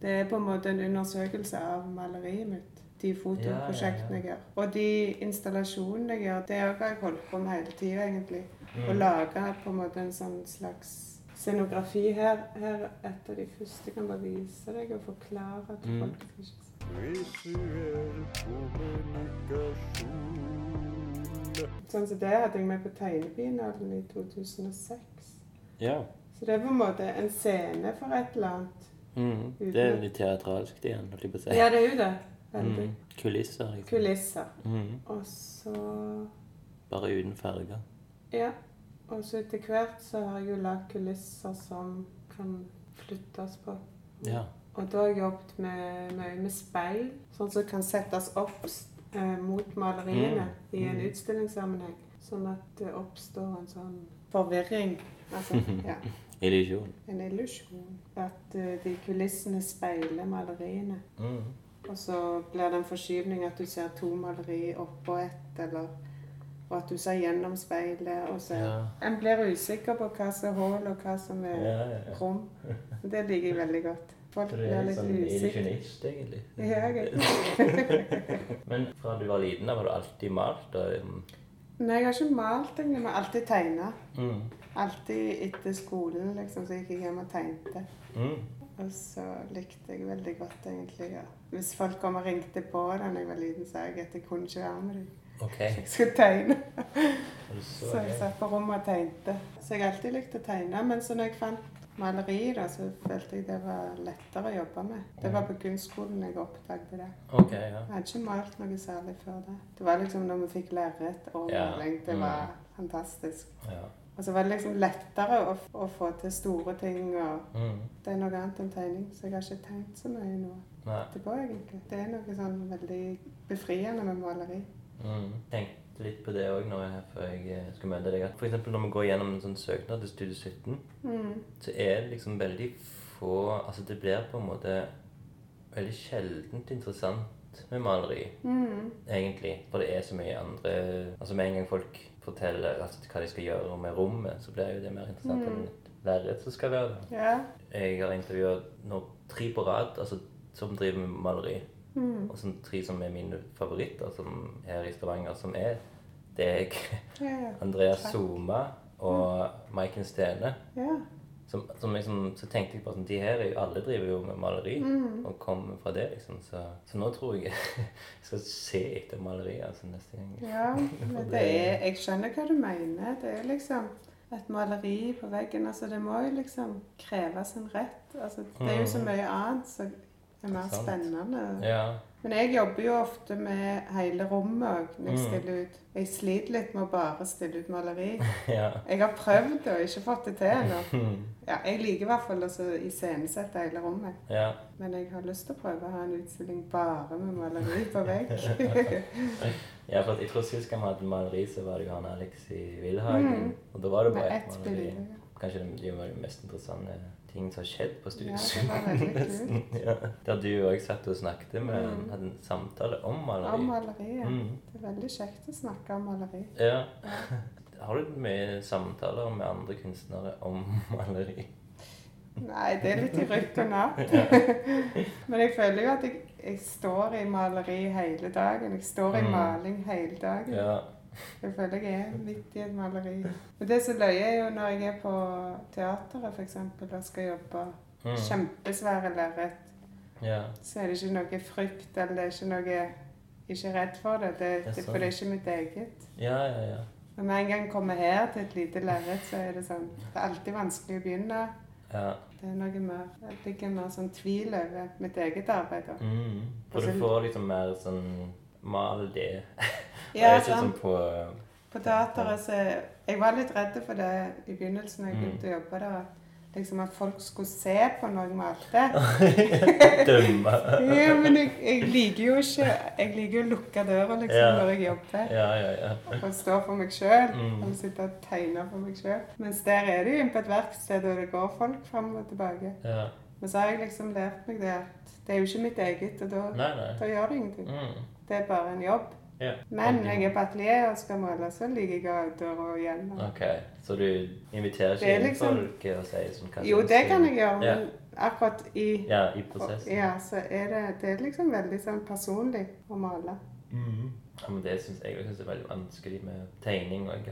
Speaker 2: Det er på en måte en undersøkelse av maleriet mitt. De fotoprosjektene jeg gjør. Og de installasjonene jeg gjør, det òg har jeg holdt på med hele tida, egentlig. Å
Speaker 1: Mm.
Speaker 2: lage på en måte en sånn slags scenografi her. Her er et av de første jeg kan bare vise deg og forklare til
Speaker 1: Mm.
Speaker 2: folk. som ikke ser.
Speaker 5: Visuell kommunikasjon.
Speaker 2: Sånn som det hadde jeg med på Tegnebinalen i 2006.
Speaker 1: ja.
Speaker 2: Så det er på en måte en scene for et eller annet.
Speaker 1: Mm. Det er litt teatralsk igjen, holdt jeg på å si.
Speaker 2: Ja, det er jo det. Veldig.
Speaker 1: Mm. Kulisser. Liksom.
Speaker 2: Kulisser.
Speaker 1: Mm.
Speaker 2: Og så
Speaker 1: Bare uten farger.
Speaker 2: Ja. Og så etter hvert så har jeg jo lagd kulisser som kan flyttes på.
Speaker 1: Ja.
Speaker 2: Og da har jeg jobbet med, mye med speil, sånn som kan settes opp eh, mot maleriene i en
Speaker 1: Mm.
Speaker 2: utstillingssammenheng. Sånn at det oppstår en sånn forvirring. Altså, ja.
Speaker 1: Illusjon.
Speaker 2: En illusjon. At eh, de kulissene speiler maleriene.
Speaker 1: Mm.
Speaker 2: Og så blir det en forskyvning at du ser to maleri oppå ett, eller og at du ser gjennom speilet. og ser.
Speaker 1: Ja.
Speaker 2: En blir usikker på hva som er hull, og hva som
Speaker 1: Ja,
Speaker 2: er
Speaker 1: ja, ja.
Speaker 2: rom. Det liker jeg veldig godt. Folk
Speaker 1: Så du
Speaker 2: blir
Speaker 1: er litt
Speaker 2: litt
Speaker 1: sånn
Speaker 2: usikre.
Speaker 1: illusjonist, egentlig.
Speaker 2: Ja, jeg
Speaker 1: Men fra du var liten, da var du alltid malt? Og, liksom-
Speaker 2: Nei, jeg har ikke malt engang. Jeg har alltid tegna.
Speaker 1: mm.
Speaker 2: Alltid etter skolen, liksom, så gikk jeg hjem og tegnte.
Speaker 1: Mm.
Speaker 2: Og så likte jeg veldig godt, egentlig. Ja. Hvis folk kom og ringte på da jeg var liten, sa jeg at jeg kunne ikke være med dem.
Speaker 1: OK.
Speaker 2: Jeg skulle tegne.
Speaker 1: Og Så,
Speaker 2: Så jeg
Speaker 1: ja.
Speaker 2: satt på rommet og tegnte. Så jeg har alltid likte å tegne, men så når jeg fant maleri, da, så følte jeg det var lettere å jobbe med. Det var på kunstskolen jeg oppdaget det.
Speaker 1: OK, ja.
Speaker 2: Jeg hadde ikke malt noe særlig før det. Det var liksom når vi fikk lerret og
Speaker 1: Ja,
Speaker 2: maling. Det var
Speaker 1: mm.
Speaker 2: fantastisk.
Speaker 1: ja.
Speaker 2: Og så var det liksom lettere å, f- å få til store ting. og
Speaker 1: Mm.
Speaker 2: Det er noe annet enn tegning, så jeg har ikke tegnet så mye nå
Speaker 1: Nei.
Speaker 2: etterpå, egentlig. Det er noe sånn veldig befriende med maleri.
Speaker 1: Mm. Tenkte litt på det òg når jeg, før jeg eh, skulle møte deg. at For eksempel når vi går gjennom en sånn søknad til Studio 17,
Speaker 2: Mm.
Speaker 1: så er det liksom veldig få Altså det blir på en måte veldig sjeldent interessant med maleri,
Speaker 2: Mm.
Speaker 1: egentlig. For det er så mye andre Altså med en gang folk forteller altså, hva de skal gjøre med rommet, så blir jo det mer interessant
Speaker 2: Mm.
Speaker 1: enn et lerret som skal være der.
Speaker 2: Ja.
Speaker 1: Jeg har intervjua nå tre på rad altså, som driver med maleri.
Speaker 2: Mm.
Speaker 1: Og som tre som er mine favoritter som her i Stavanger, som er deg,
Speaker 2: Ja.
Speaker 1: Andreas
Speaker 2: Takk.
Speaker 1: Zuma og Maiken Stene.
Speaker 2: ja.
Speaker 1: Som, som liksom, så tenkte jeg bare sånn De her er jo alle driver jo med maleri
Speaker 2: Mm.
Speaker 1: og kommer fra det, liksom. Så, så nå tror jeg jeg skal se etter maleri altså, neste gang.
Speaker 2: Ja, men det er, jeg skjønner hva du mener. Det er liksom et maleri på veggen. Altså, det må jo liksom kreve sin rett. Altså, det er jo så mye annet som er mer
Speaker 1: Mm. Sant.
Speaker 2: spennende.
Speaker 1: Ja.
Speaker 2: Men jeg jobber jo ofte med hele rommet òg når jeg
Speaker 1: Mm.
Speaker 2: stiller ut. Jeg sliter litt med å bare stille ut maleri.
Speaker 1: ja.
Speaker 2: Jeg har prøvd og ikke fått det til ennå.
Speaker 1: Hmm.
Speaker 2: Ja, jeg liker i hvert fall å iscenesette hele rommet.
Speaker 1: ja.
Speaker 2: Men jeg har lyst til å prøve å ha en utstilling bare med maleri på vegg.
Speaker 1: Ja, for at jeg tror sist gang vi hadde maleri, så var det jo han Alexi Wilhagen. Og da var det
Speaker 2: Mm. med
Speaker 1: bare ett
Speaker 2: ett
Speaker 1: maleri.
Speaker 2: bilde.
Speaker 1: Kanskje det, det var de mest interessante ting som har skjedd på
Speaker 2: Ja,
Speaker 1: studiet.
Speaker 2: det var veldig kult. Mm.
Speaker 1: Ja. Der du òg satt og snakket med en, hadde en samtale om maleri.
Speaker 2: Om maleriet.
Speaker 1: Mm.
Speaker 2: Det er veldig kjekt å snakke om maleri.
Speaker 1: Ja. Har du mye samtaler med andre kunstnere om maleri?
Speaker 2: Nei, det er litt i rykk og napp. Men jeg føler jo at jeg, jeg står i maleri hele dagen. Jeg står i
Speaker 1: Mm.
Speaker 2: maling hele dagen.
Speaker 1: Ja.
Speaker 2: Jeg føler jeg er midt i et maleri. Men det som løye er jo når jeg er på teateret f.eks. og skal jobbe
Speaker 1: Mm.
Speaker 2: kjempesvære lerret,
Speaker 1: ja.
Speaker 2: så er det ikke noe frykt eller det er ikke noe ikke redd for det. det,
Speaker 1: Ja,
Speaker 2: det
Speaker 1: sånn.
Speaker 2: for det er ikke mitt eget.
Speaker 1: Ja, ja, ja.
Speaker 2: Når vi en gang kommer her til et lite lerret, så er det sånn Det er alltid vanskelig å begynne.
Speaker 1: ja.
Speaker 2: Det er noe mer Det ligger mer sånn tvil over mitt eget arbeid. da.
Speaker 1: Mm. For
Speaker 2: Altså-
Speaker 1: du får liksom mer sånn Mal det.
Speaker 2: Ja,
Speaker 1: Og ikke sånn
Speaker 2: sant.
Speaker 1: på
Speaker 2: På teateret så Jeg var litt redd for det i begynnelsen da jeg
Speaker 1: Mm.
Speaker 2: begynte å jobbe der. at Liksom at folk skulle se på når jeg malte.
Speaker 1: eh, dømme.
Speaker 2: Ja, men jeg, jeg liker jo ikke Jeg liker jo å lukke døra liksom
Speaker 1: Ja.
Speaker 2: når jeg jobber.
Speaker 1: Ja, ja, ja.
Speaker 2: Og stå for meg sjøl.
Speaker 1: Mm.
Speaker 2: Og sitte og tegne for meg sjøl. Mens der er det jo inne på et verksted, og det går folk fram og tilbake.
Speaker 1: ja.
Speaker 2: Men så har jeg liksom lært meg det at det er jo ikke mitt eget, og da,
Speaker 1: Nei, nei.
Speaker 2: da gjør det ingenting.
Speaker 1: Mm.
Speaker 2: Det er bare en jobb.
Speaker 1: Ja.
Speaker 2: Men når jeg er på atelier og skal måle, så liker jeg outdoor og hjemme.
Speaker 1: Ok, så du inviterer
Speaker 2: Det er
Speaker 1: ikke inn
Speaker 2: liksom-
Speaker 1: folk og sier sånn hva
Speaker 2: Jo,
Speaker 1: syns
Speaker 2: det
Speaker 1: du?
Speaker 2: kan jeg gjøre,
Speaker 1: Ja.
Speaker 2: men akkurat i
Speaker 1: Ja, i prosessen.
Speaker 2: Ja, så er det, det er liksom veldig sånn personlig å male.
Speaker 1: Mhm. Ja, men det syns jeg, jeg synes det er veldig vanskelig med tegning òg.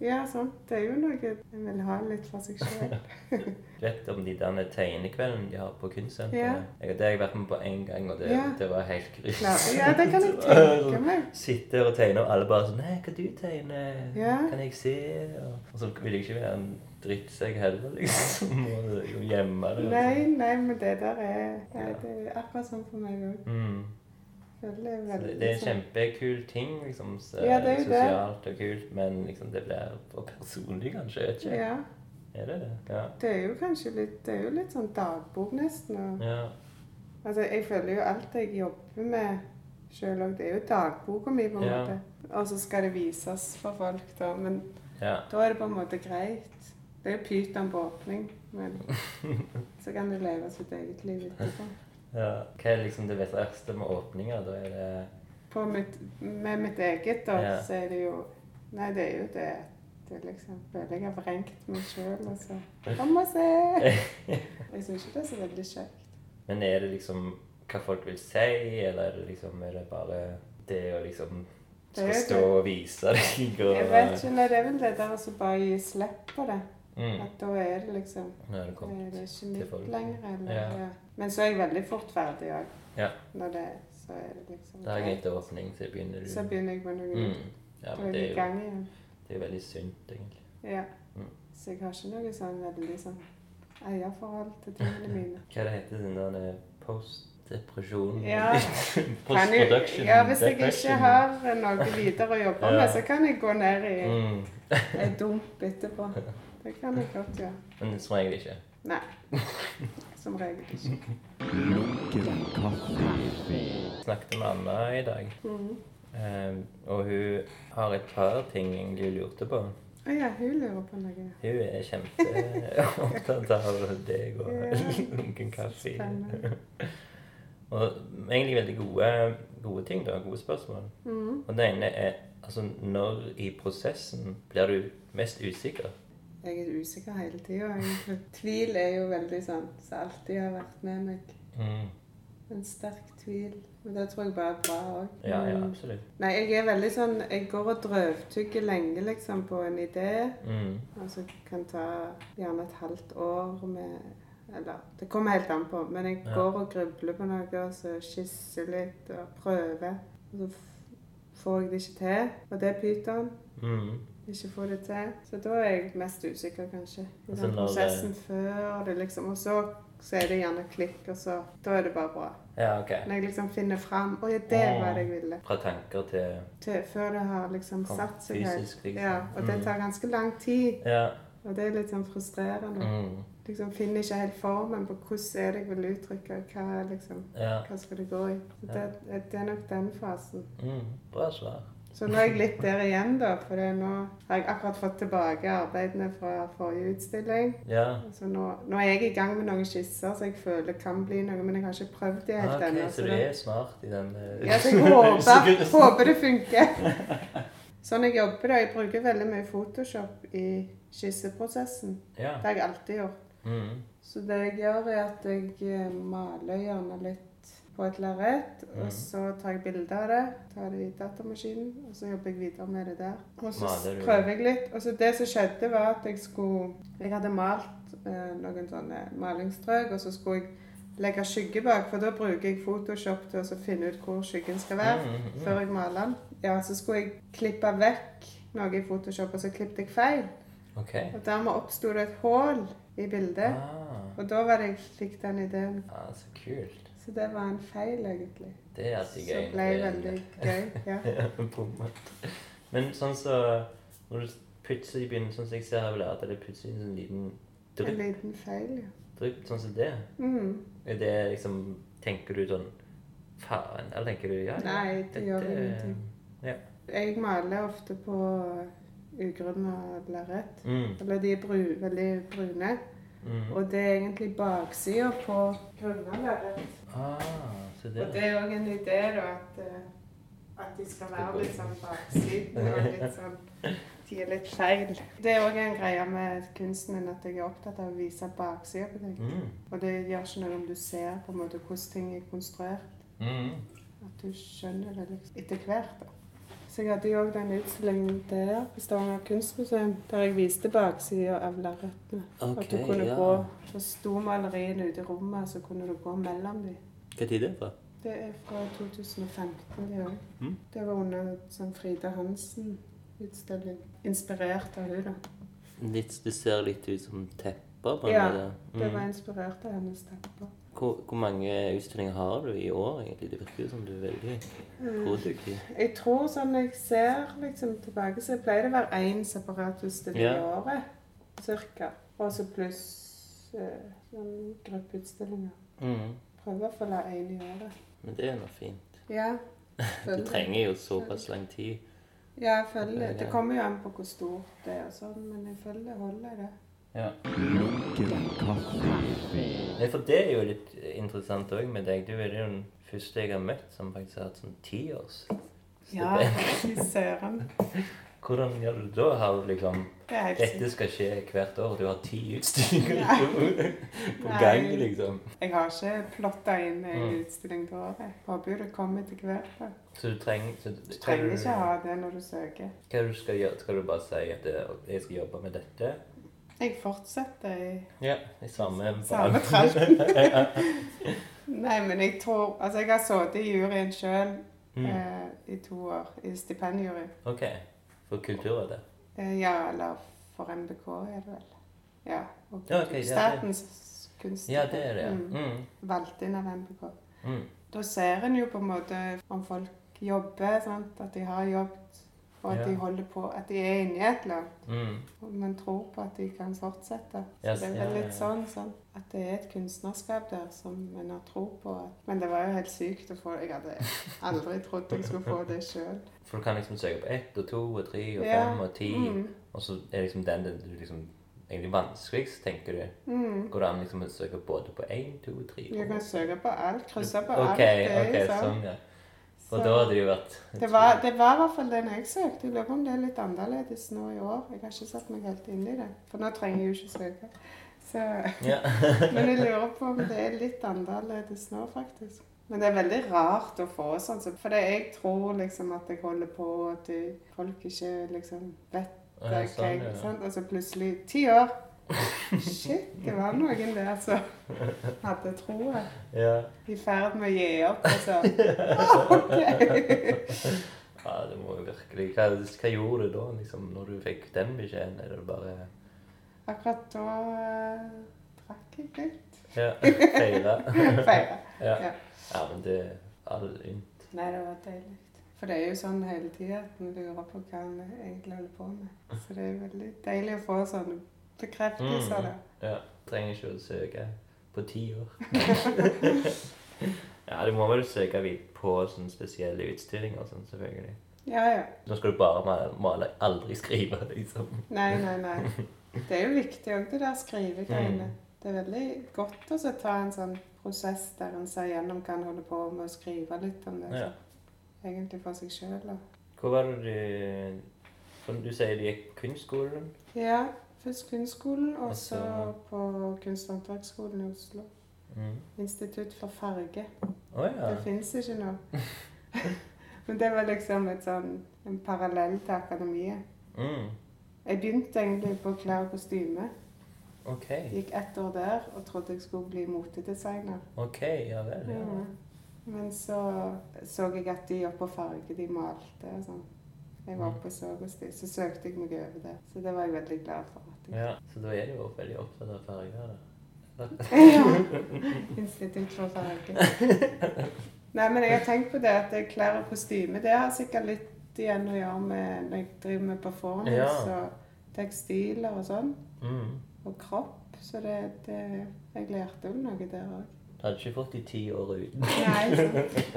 Speaker 2: Ja, sant. Det er jo noe en vil ha litt for seg sjøl.
Speaker 1: Du vet om de der tegnekveldene de har på
Speaker 2: Ja.
Speaker 1: kunstsenteret? Jeg- Det har jeg vært med på én gang, og det,
Speaker 2: Ja.
Speaker 1: det var helt grusomt.
Speaker 2: Ja, det kan jeg tenke meg.
Speaker 1: Sitte her og tegne, og alle bare sånn 'Nei, hva du tegner?
Speaker 2: Ja.
Speaker 1: Kan jeg se?' Og, og så vil jeg ikke være en drittsekk heller, liksom. Og jo gjemme det. altså. og
Speaker 2: Nei, nei, men det der er nei,
Speaker 1: Ja.
Speaker 2: Det er akkurat sånn for meg òg.
Speaker 1: sånn. Mm.
Speaker 2: Det er
Speaker 1: Så Det
Speaker 2: veldig
Speaker 1: det er en
Speaker 2: sånn.
Speaker 1: kjempekul ting, liksom. Så,
Speaker 2: Ja, det er jo det.
Speaker 1: sosialt og kult, men liksom, det blir for personlig, kanskje. Jeg vet ikke.
Speaker 2: Ja.
Speaker 1: Er det det? Ja.
Speaker 2: Det er jo kanskje litt Det er jo litt sånn dagbok, nesten. Og,
Speaker 1: ja.
Speaker 2: altså, jeg føler jo alt jeg jobber med sjøl òg, det er jo dagboka mi, på en
Speaker 1: Ja.
Speaker 2: måte. Og så skal det vises for folk, da. Men
Speaker 1: ja.
Speaker 2: da er det på en måte greit. Det er jo pyton på åpning, men så kan du leve sitt eget liv etterpå.
Speaker 1: Ja. Hva er liksom det verste med åpninger? Da er det
Speaker 2: på mitt, med mitt eget, da,
Speaker 1: Ja.
Speaker 2: så er det jo Nei, det er jo det at jeg liksom føler jeg har vrengt meg sjøl, og så Kom og se! Jeg syns ikke det er så veldig kjekt.
Speaker 1: Men er det liksom hva folk vil si, eller er det liksom er det bare det å liksom
Speaker 2: Det
Speaker 1: skal
Speaker 2: er jo
Speaker 1: stå
Speaker 2: det.
Speaker 1: og vise deg og
Speaker 2: Jeg vet ikke, nei, det er vel det der å så bare gi slipp på det.
Speaker 1: Mm.
Speaker 2: At da er det liksom
Speaker 1: Nå er det
Speaker 2: Det er
Speaker 1: kommet
Speaker 2: det ikke
Speaker 1: til
Speaker 2: mitt
Speaker 1: folk.
Speaker 2: lenger, eller
Speaker 1: Ja.
Speaker 2: ja. Men så er jeg veldig fort ferdig òg.
Speaker 1: Ja.
Speaker 2: Når det så er det liksom
Speaker 1: Dagen etter åpning så begynner du
Speaker 2: Så begynner jeg med noe
Speaker 1: mm.
Speaker 2: nytt.
Speaker 1: Ja,
Speaker 2: Da
Speaker 1: men
Speaker 2: er
Speaker 1: det
Speaker 2: jeg i
Speaker 1: er jo
Speaker 2: gang igjen.
Speaker 1: det er jo veldig sunt, egentlig.
Speaker 2: Ja.
Speaker 1: Mm.
Speaker 2: Så jeg har ikke noe sånn veldig sånn eierforhold til tingene mine.
Speaker 1: Hva det heter den der eh, postdepresjon
Speaker 2: Ja. Kan jo-
Speaker 1: Postproduction.
Speaker 2: Ja, hvis jeg ikke
Speaker 1: depression.
Speaker 2: har noe videre å jobbe med,
Speaker 1: Ja.
Speaker 2: så kan jeg gå ned i
Speaker 1: mm.
Speaker 2: en dump etterpå. Det kan jeg godt gjøre.
Speaker 1: Men som regel ikke.
Speaker 2: Nei. Som regel ikke.
Speaker 3: Lunken kaffe.
Speaker 1: Snakket med Anna i dag,
Speaker 2: Mhm.
Speaker 1: eh, og hun har et par ting egentlig hun lurte på.
Speaker 2: Å ja, hun lurer på noe.
Speaker 1: Hun er kjempeopptatt av deg og
Speaker 2: Ja.
Speaker 1: lunken kaffe.
Speaker 2: Spennende.
Speaker 1: Og egentlig veldig gode, gode ting, da. Gode spørsmål.
Speaker 2: Mhm.
Speaker 1: Og det ene er altså når i prosessen blir du mest usikker?
Speaker 2: Jeg er usikker hele tida, egentlig. Tvil er jo veldig sånn som alltid har vært med meg.
Speaker 1: Mm.
Speaker 2: En sterk tvil. Men det tror jeg bare er bra òg.
Speaker 1: Ja, ja,
Speaker 2: Mm.
Speaker 1: absolutt.
Speaker 2: Nei, jeg er veldig sånn Jeg går og drøvtygger lenge, liksom, på en idé.
Speaker 1: Mm.
Speaker 2: Altså kan ta gjerne et halvt år med Eller det kommer helt an på. Men jeg
Speaker 1: Ja.
Speaker 2: går og grubler på noe, og så skisser litt og prøver. Og så f- får jeg det ikke til. Og det er pyton.
Speaker 1: Mm.
Speaker 2: Ikke får det til. Så da er jeg mest usikker, kanskje. I
Speaker 1: Altså,
Speaker 2: den
Speaker 1: når det-
Speaker 2: prosessen før det liksom Og så, så er det gjerne klikk, og så Da er det bare bra.
Speaker 1: Ja, OK.
Speaker 2: Når jeg liksom finner fram Å ja, det var det jeg ville.
Speaker 1: Fra tanker til
Speaker 2: Til, før det har liksom
Speaker 1: Kom,
Speaker 2: satt seg helt.
Speaker 1: fysisk, liksom.
Speaker 2: Ja, og det
Speaker 1: Mm.
Speaker 2: tar ganske lang tid.
Speaker 1: Ja.
Speaker 2: Og det er litt sånn frustrerende.
Speaker 1: Mm.
Speaker 2: liksom finner ikke helt formen på hvordan er det jeg vil uttrykke, og hva, er liksom,
Speaker 1: ja.
Speaker 2: hva skal det gå i. Så det, det er nok den fasen.
Speaker 1: Mm. Bra svar.
Speaker 2: Så nå er jeg litt der igjen, da, for det er nå har jeg akkurat fått tilbake arbeidene fra forrige utstilling.
Speaker 1: Ja.
Speaker 2: Så Altså, nå, nå er jeg i gang med noen skisser som jeg føler kan bli noe, men jeg har ikke prøvd det
Speaker 1: Ah,
Speaker 2: helt
Speaker 1: ok,
Speaker 2: ennå.
Speaker 1: så du
Speaker 2: det-
Speaker 1: er smart i den eh,
Speaker 2: ja, så jeg håper,
Speaker 1: usikkerheten.
Speaker 2: håper det funker. Sånn jeg jobber, da. Jeg bruker veldig mye Photoshop i skisseprosessen.
Speaker 1: Ja.
Speaker 2: Det har jeg alltid gjort.
Speaker 1: Mm.
Speaker 2: Så det jeg gjør, er at jeg eh, maler gjerne litt på et lerret,
Speaker 1: Mhm.
Speaker 2: og så tar jeg bilde av det, tar det i datamaskinen, og så jobber jeg videre med det der. Og så s-
Speaker 1: Maler du-
Speaker 2: prøver jeg litt. Og så det som skjedde, var at jeg skulle Jeg hadde malt eh, noen sånne malingsstrøk, og så skulle jeg legge skygge bak, for da bruker jeg Photoshop til å så finne ut hvor skyggen skal være
Speaker 1: Mm, mm, mm.
Speaker 2: før jeg maler den. Ja, så skulle jeg klippe vekk noe i Photoshop, og så klippet jeg feil.
Speaker 1: OK.
Speaker 2: Og dermed oppsto det et hull i bildet.
Speaker 1: Ah.
Speaker 2: Og da var det jeg fikk den ideen.
Speaker 1: ah, så kult.
Speaker 2: Så det var en feil, egentlig.
Speaker 1: Det er alltid gøy.
Speaker 2: Som ble veldig gøy. Ja.
Speaker 1: Bommet. Men sånn så Når du plutselig begynner sånn som jeg ser her, vel, at det er plutselig en sånn liten
Speaker 2: En
Speaker 1: drypp,
Speaker 2: liten feil, ja.
Speaker 1: drypp sånn som det.
Speaker 2: Mm.
Speaker 1: Er det liksom Tenker du sånn Faen. Eller tenker du ja? ja,
Speaker 2: Nei, det gjør
Speaker 1: dette-
Speaker 2: ingenting. Jeg maler ofte på ugrunna lerret.
Speaker 1: Mm. mm.
Speaker 2: Eller de er bru, veldig brune. Og det er egentlig baksida på grunnlaget.
Speaker 1: Ah, se
Speaker 2: Og det
Speaker 1: der.
Speaker 2: er òg en idé, da, at, eh, at de skal være litt sånn baksiden og litt sånn De er litt feil. Det er òg en greie med kunsten min at jeg er opptatt av å vise baksida på ting.
Speaker 1: Mm.
Speaker 2: Og det gjør ikke noe om du ser på en måte hvordan ting er konstruert.
Speaker 1: Mm.
Speaker 2: At du skjønner det liksom etter hvert. da. Så jeg hadde jo òg den utstillingen der på Stavanger kunstmuseum, der jeg viste baksida av lerretene.
Speaker 1: Ok,
Speaker 2: At du kunne
Speaker 1: ja.
Speaker 2: gå Så sto maleriene ute i rommet, så kunne du gå mellom dem.
Speaker 1: Hva tid er det fra?
Speaker 2: Det er fra 2015, det òg.
Speaker 1: Mm.
Speaker 2: Det var under en sånn Frida Hansen-utstilling. Inspirert av henne, da.
Speaker 1: Litt, det ser litt ut som tepper. på en
Speaker 2: Ja,
Speaker 1: måte.
Speaker 2: Det var
Speaker 1: Mm.
Speaker 2: inspirert av hennes tepper.
Speaker 1: Hvor, hvor mange utstillinger har du i år, egentlig? Det virker jo som du er veldig produktiv.
Speaker 2: Jeg tror sånn jeg ser liksom tilbake, så pleier det å være én separat utstilling
Speaker 1: Ja.
Speaker 2: i året. Cirka. Og så pluss eh, sånn gruppeutstillinger.
Speaker 1: Mm.
Speaker 2: Prøver å få la én i året.
Speaker 1: Men det er nå fint.
Speaker 2: Ja.
Speaker 1: Du
Speaker 2: føler det.
Speaker 1: trenger jo såpass lang tid.
Speaker 2: Ja, jeg føler det.
Speaker 1: Veldig.
Speaker 2: Det kommer jo an på hvor stort det er og sånn, men jeg føler det holder, det.
Speaker 1: Ja.
Speaker 3: Lunken kaffe.
Speaker 1: Nei, for det er jo litt interessant òg med deg. Du er jo den første jeg har møtt som faktisk har hatt sånn tiårs.
Speaker 2: Ja, fy søren.
Speaker 1: Hvordan gjør du det da? Har du liksom
Speaker 2: Det er helt
Speaker 1: Dette
Speaker 2: sykt.
Speaker 1: skal skje hvert år, og du har ti utstillinger på
Speaker 2: Nei.
Speaker 1: gang, liksom.
Speaker 2: Jeg har ikke plotta inn en
Speaker 1: Mm.
Speaker 2: utstilling til året. Håper jo det kommer etter hvert. da.
Speaker 1: Så du trenger så
Speaker 2: Du trenger ikke ha det når du søker.
Speaker 1: Hva er det du skal gjøre? Skal du bare si at eh, jeg skal jobbe med dette?
Speaker 2: Jeg fortsetter i
Speaker 1: Ja, i samme
Speaker 2: Samme tralten. Nei, men jeg tror Altså, jeg har sittet i juryen sjøl
Speaker 1: Mm.
Speaker 2: eh, i to år. I stipendjury.
Speaker 1: OK. For Kulturrådet?
Speaker 2: Eh, ja, eller for MBK, er det vel. Ja. Og
Speaker 1: Ja, ok, ja, det-
Speaker 2: Statens kunst.
Speaker 1: Ja, det er det. ja.
Speaker 2: Mm,
Speaker 1: Mm.
Speaker 2: valgt inn av MBK.
Speaker 1: Mm.
Speaker 2: Da ser en jo på en måte om folk jobber, sant? at de har jobbet, og at
Speaker 1: Ja.
Speaker 2: de holder på, at de er inni et eller annet.
Speaker 1: Mm.
Speaker 2: Og Man tror på at de kan fortsette. Så
Speaker 1: Yes,
Speaker 2: det er
Speaker 1: ja,
Speaker 2: vel
Speaker 1: ja,
Speaker 2: litt
Speaker 1: ja.
Speaker 2: sånn, sånn at det er et kunstnerskap der som en har tro på. Men det var jo helt sykt å få Jeg hadde aldri trodd jeg skulle få det sjøl.
Speaker 1: For du kan liksom søke på ett og to og tre og
Speaker 2: Ja.
Speaker 1: fem og ti,
Speaker 2: Mm.
Speaker 1: og så er liksom den den du liksom egentlig vanskeligst, tenker du.
Speaker 2: Mm.
Speaker 1: Går det an liksom å søke både på én, to, tre
Speaker 2: Du kan søke på alt, krysse på alt.
Speaker 1: OK,
Speaker 2: er
Speaker 1: ok,
Speaker 2: jo sånn.
Speaker 1: sånn, ja. For
Speaker 2: Så
Speaker 1: da hadde det jo vært
Speaker 2: det var, det var i hvert fall den jeg søkte. Jeg lurer på om det er litt annerledes nå i år. Jeg har ikke satt meg helt inn i det, for nå trenger jeg jo ikke søke. Så,
Speaker 1: Ja.
Speaker 2: men jeg lurer på om det er litt annerledes nå, faktisk. Men det er veldig rart å få sånn, så- for det- jeg tror liksom at jeg holder på, og at de- folk ikke liksom vet
Speaker 1: Ja,
Speaker 2: hva jeg
Speaker 1: sånn, ja.
Speaker 2: sant? Og så plutselig ti år! Shit, det var noen der som hadde troa.
Speaker 1: ja.
Speaker 2: I ferd med å gi opp, altså. Ok.
Speaker 1: ja, det må jo virkelig hva, hva gjorde du da, liksom, når du fikk den beskjeden? Er det bare
Speaker 2: Akkurat da eh, drakk jeg litt.
Speaker 1: Ja, feire?
Speaker 2: Feira.
Speaker 1: Ja.
Speaker 2: Ja.
Speaker 1: ja, men det er all ynt.
Speaker 2: Nei, det var deilig. For det er jo sånn hele tida at en lurer på hva en egentlig holder på med. Så det er veldig deilig å få sånne
Speaker 1: Mm.
Speaker 2: bekreftelser. da.
Speaker 1: Ja. Trenger ikke å søke på ti år. ja, du må vel søke vidt på sånne spesielle utstillinger og sånn, selvfølgelig.
Speaker 2: Ja, ja.
Speaker 1: Nå skal du bare male, male aldri skrive, liksom.
Speaker 2: Nei, nei, nei. Det er jo viktig òg, det der skrivegreiene.
Speaker 1: Mm.
Speaker 2: Det er veldig godt å så ta en sånn prosess der en ser gjennom hva en holder på med, og skrive litt om det.
Speaker 1: Ja.
Speaker 2: så Egentlig for seg sjøl.
Speaker 1: Hvor var det du for Du sier du gikk kunstskolen?
Speaker 2: Ja. Først kunstskolen, og
Speaker 1: Og
Speaker 2: så
Speaker 1: så-
Speaker 2: på Kunst- og håndverksskolen i Oslo.
Speaker 1: Å mm.
Speaker 2: Institutt for farge.
Speaker 1: Å, ja.
Speaker 2: Det fins ikke nå. Men det var liksom et sånn, en parallell til akademiet.
Speaker 1: Mm.
Speaker 2: Jeg begynte egentlig på klær og kostyme.
Speaker 1: OK.
Speaker 2: Gikk ett år der og trodde jeg skulle bli motedesigner.
Speaker 1: OK, ja vel. Ja.
Speaker 2: Men så så jeg at de oppe på farge, de malte og sånn. Jeg
Speaker 1: Mm.
Speaker 2: var oppe og så hos de, så søkte jeg meg over det. Så det var jeg veldig glad for. at jeg...
Speaker 1: Ja, så da er du jo veldig opptatt av farger, da.
Speaker 2: Ja. Institutt for farge. Nei, men jeg har tenkt på det at klær og kostyme, det har sikkert litt igjen å gjøre med når jeg driver med performance
Speaker 1: Ja.
Speaker 2: og tekstiler og sånn,
Speaker 1: Mm.
Speaker 2: og kropp. Så det, det Jeg lærte jo noe der òg.
Speaker 1: Du hadde ikke fått de ti åra uten.
Speaker 2: Nei, sant.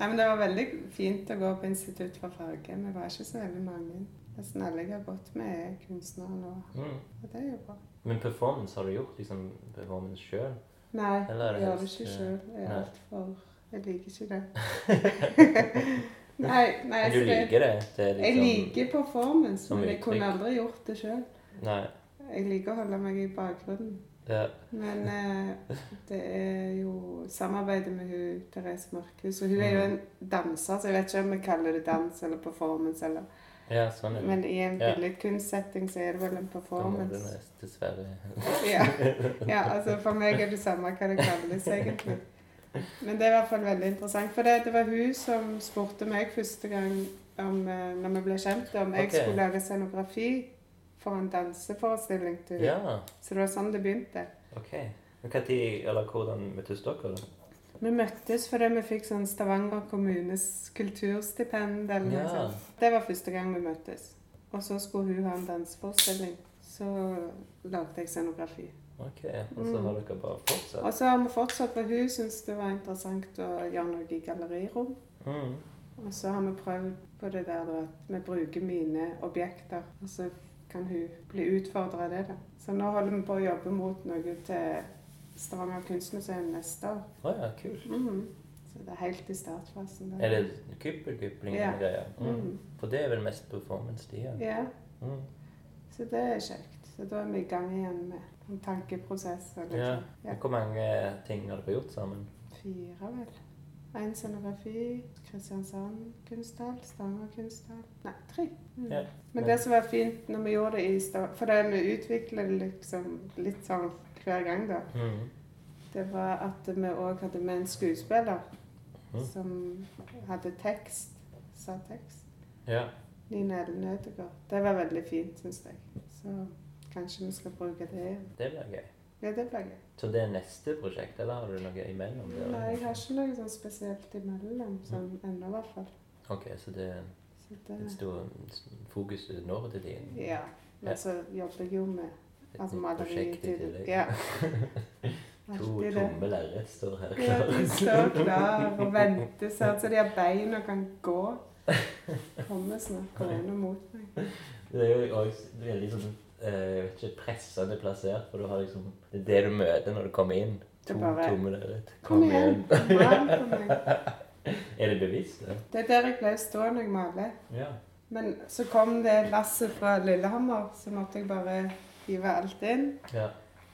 Speaker 2: Nei, men det var veldig fint å gå på Institutt for farge. Vi var ikke så veldig mange. Nesten alle jeg har gått med, er kunstnere nå.
Speaker 1: Mm.
Speaker 2: Og det er jo bra.
Speaker 1: Men performance, har du gjort liksom performance sjøl?
Speaker 2: Nei,
Speaker 1: Eller er det
Speaker 2: jeg gjør det
Speaker 1: helst,
Speaker 2: ikke
Speaker 1: eh,
Speaker 2: sjøl. Jeg er
Speaker 1: nei.
Speaker 2: altfor Jeg liker ikke det. nei, nei
Speaker 1: Men
Speaker 2: så
Speaker 1: du liker det? det er
Speaker 2: Jeg
Speaker 1: liksom,
Speaker 2: liker performance,
Speaker 1: som
Speaker 2: men jeg kunne
Speaker 1: uttrykk.
Speaker 2: aldri gjort det sjøl.
Speaker 1: Nei.
Speaker 2: Jeg liker å holde meg i bakgrunnen.
Speaker 1: Ja.
Speaker 2: Men eh, det er jo samarbeidet med hun, Therese Markhus. Og hun er jo en
Speaker 1: Mm.
Speaker 2: danser, så jeg vet ikke om vi kaller det dans eller performance. Eller.
Speaker 1: ja, sånn er det.
Speaker 2: Men i en
Speaker 1: Ja.
Speaker 2: billedkunstsetting så er det vel en
Speaker 1: Da må du
Speaker 2: performance.
Speaker 1: nest- Dessverre.
Speaker 2: Ja. ja, altså For meg er det samme hva det kalles, egentlig. Men det er i hvert fall veldig interessant. For det, det var hun som spurte meg første gang om, eh, når vi ble kjent, om jeg
Speaker 1: Ok.
Speaker 2: skulle lage scenografi for en danseforestilling til henne.
Speaker 1: Ja,
Speaker 2: Så det var sånn det begynte.
Speaker 1: OK. Men hva tid, eller hvordan møttes dere? da?
Speaker 2: Vi møttes fordi vi fikk sånn Stavanger kommunes kulturstipend eller noe
Speaker 1: Ja.
Speaker 2: sånt. Det var første gang vi møttes. Og så skulle hun ha en danseforestilling. Så lagde jeg scenografi.
Speaker 1: OK. Og så
Speaker 2: Mm.
Speaker 1: har dere bare fortsatt?
Speaker 2: Og så har vi fortsatt, for hun syntes det var interessant å gjøre noe i gallerirom.
Speaker 1: Mm.
Speaker 2: Og så har vi prøvd på det der da, at vi bruker mine objekter, og så kan hun bli utfordra av det. da. Så nå holder vi på å jobbe mot noe til Stavanger kunstmuseum neste år.
Speaker 1: Å ja, kult.
Speaker 2: Mhm. Så det er helt i startfasen. da.
Speaker 1: Er det kuppelkupling
Speaker 2: Ja.
Speaker 1: og greier? Mm.
Speaker 2: Mhm.
Speaker 1: For det er vel mest performance, de her.
Speaker 2: Ja,
Speaker 1: Mm.
Speaker 2: så det er kjekt. Så da er vi i gang igjen med en tankeprosess. Og litt
Speaker 1: Ja.
Speaker 2: sånn. ja.
Speaker 1: Men Hvor mange ting har dere gjort sammen?
Speaker 2: Fire, vel. En scenografi, Kristiansand kunsthall, Stavanger kunsthall Nei, tre. Mm.
Speaker 1: Ja.
Speaker 2: Men det som var fint når vi gjorde det i Stavanger For det vi utvikler det liksom litt sånn hver gang, da.
Speaker 1: Mm.
Speaker 2: Det var at vi òg hadde med en skuespiller
Speaker 1: Mhm.
Speaker 2: som hadde tekst. Sa tekst.
Speaker 1: Ja.
Speaker 2: Nina Ellen Ødegaard. Det var veldig fint, syns jeg. Så kanskje vi skal bruke det igjen.
Speaker 1: Det blir gøy.
Speaker 2: Ja, det blir gøy.
Speaker 1: Så det er neste prosjekt, eller har du noe imellom? det, eller?
Speaker 2: Nei, jeg har ikke noe sånn spesielt imellom, sånn ennå i hvert fall.
Speaker 1: Ok, så det er
Speaker 2: Så
Speaker 1: et
Speaker 2: det
Speaker 1: stort fokus nå til tiden.
Speaker 2: Ja. Men så jobber jeg jo med
Speaker 1: Et
Speaker 2: altså
Speaker 1: nytt
Speaker 2: maleri i
Speaker 1: prosjekt i
Speaker 2: tillegg.
Speaker 1: tillegg.
Speaker 2: Ja.
Speaker 1: To
Speaker 2: Alltid det.
Speaker 1: tomme lerret står her
Speaker 2: Ja,
Speaker 1: klare.
Speaker 2: de står klar og venter sånn så de har bein og kan gå. Kommer snart gående mot meg.
Speaker 1: Det er jo også veldig sånn eh, jeg vet ikke, pressende plassert, for du har liksom Det er det du møter når du kommer inn.
Speaker 2: Det
Speaker 1: To
Speaker 2: er bare-
Speaker 1: tomme lerret.
Speaker 2: Kom igjen! mann på meg.
Speaker 1: Er det bevisst, det?
Speaker 2: Det er der jeg pleier å stå når jeg maler.
Speaker 1: Ja.
Speaker 2: Men så kom det lasset fra Lillehammer, så måtte jeg bare hive alt inn.
Speaker 1: ja.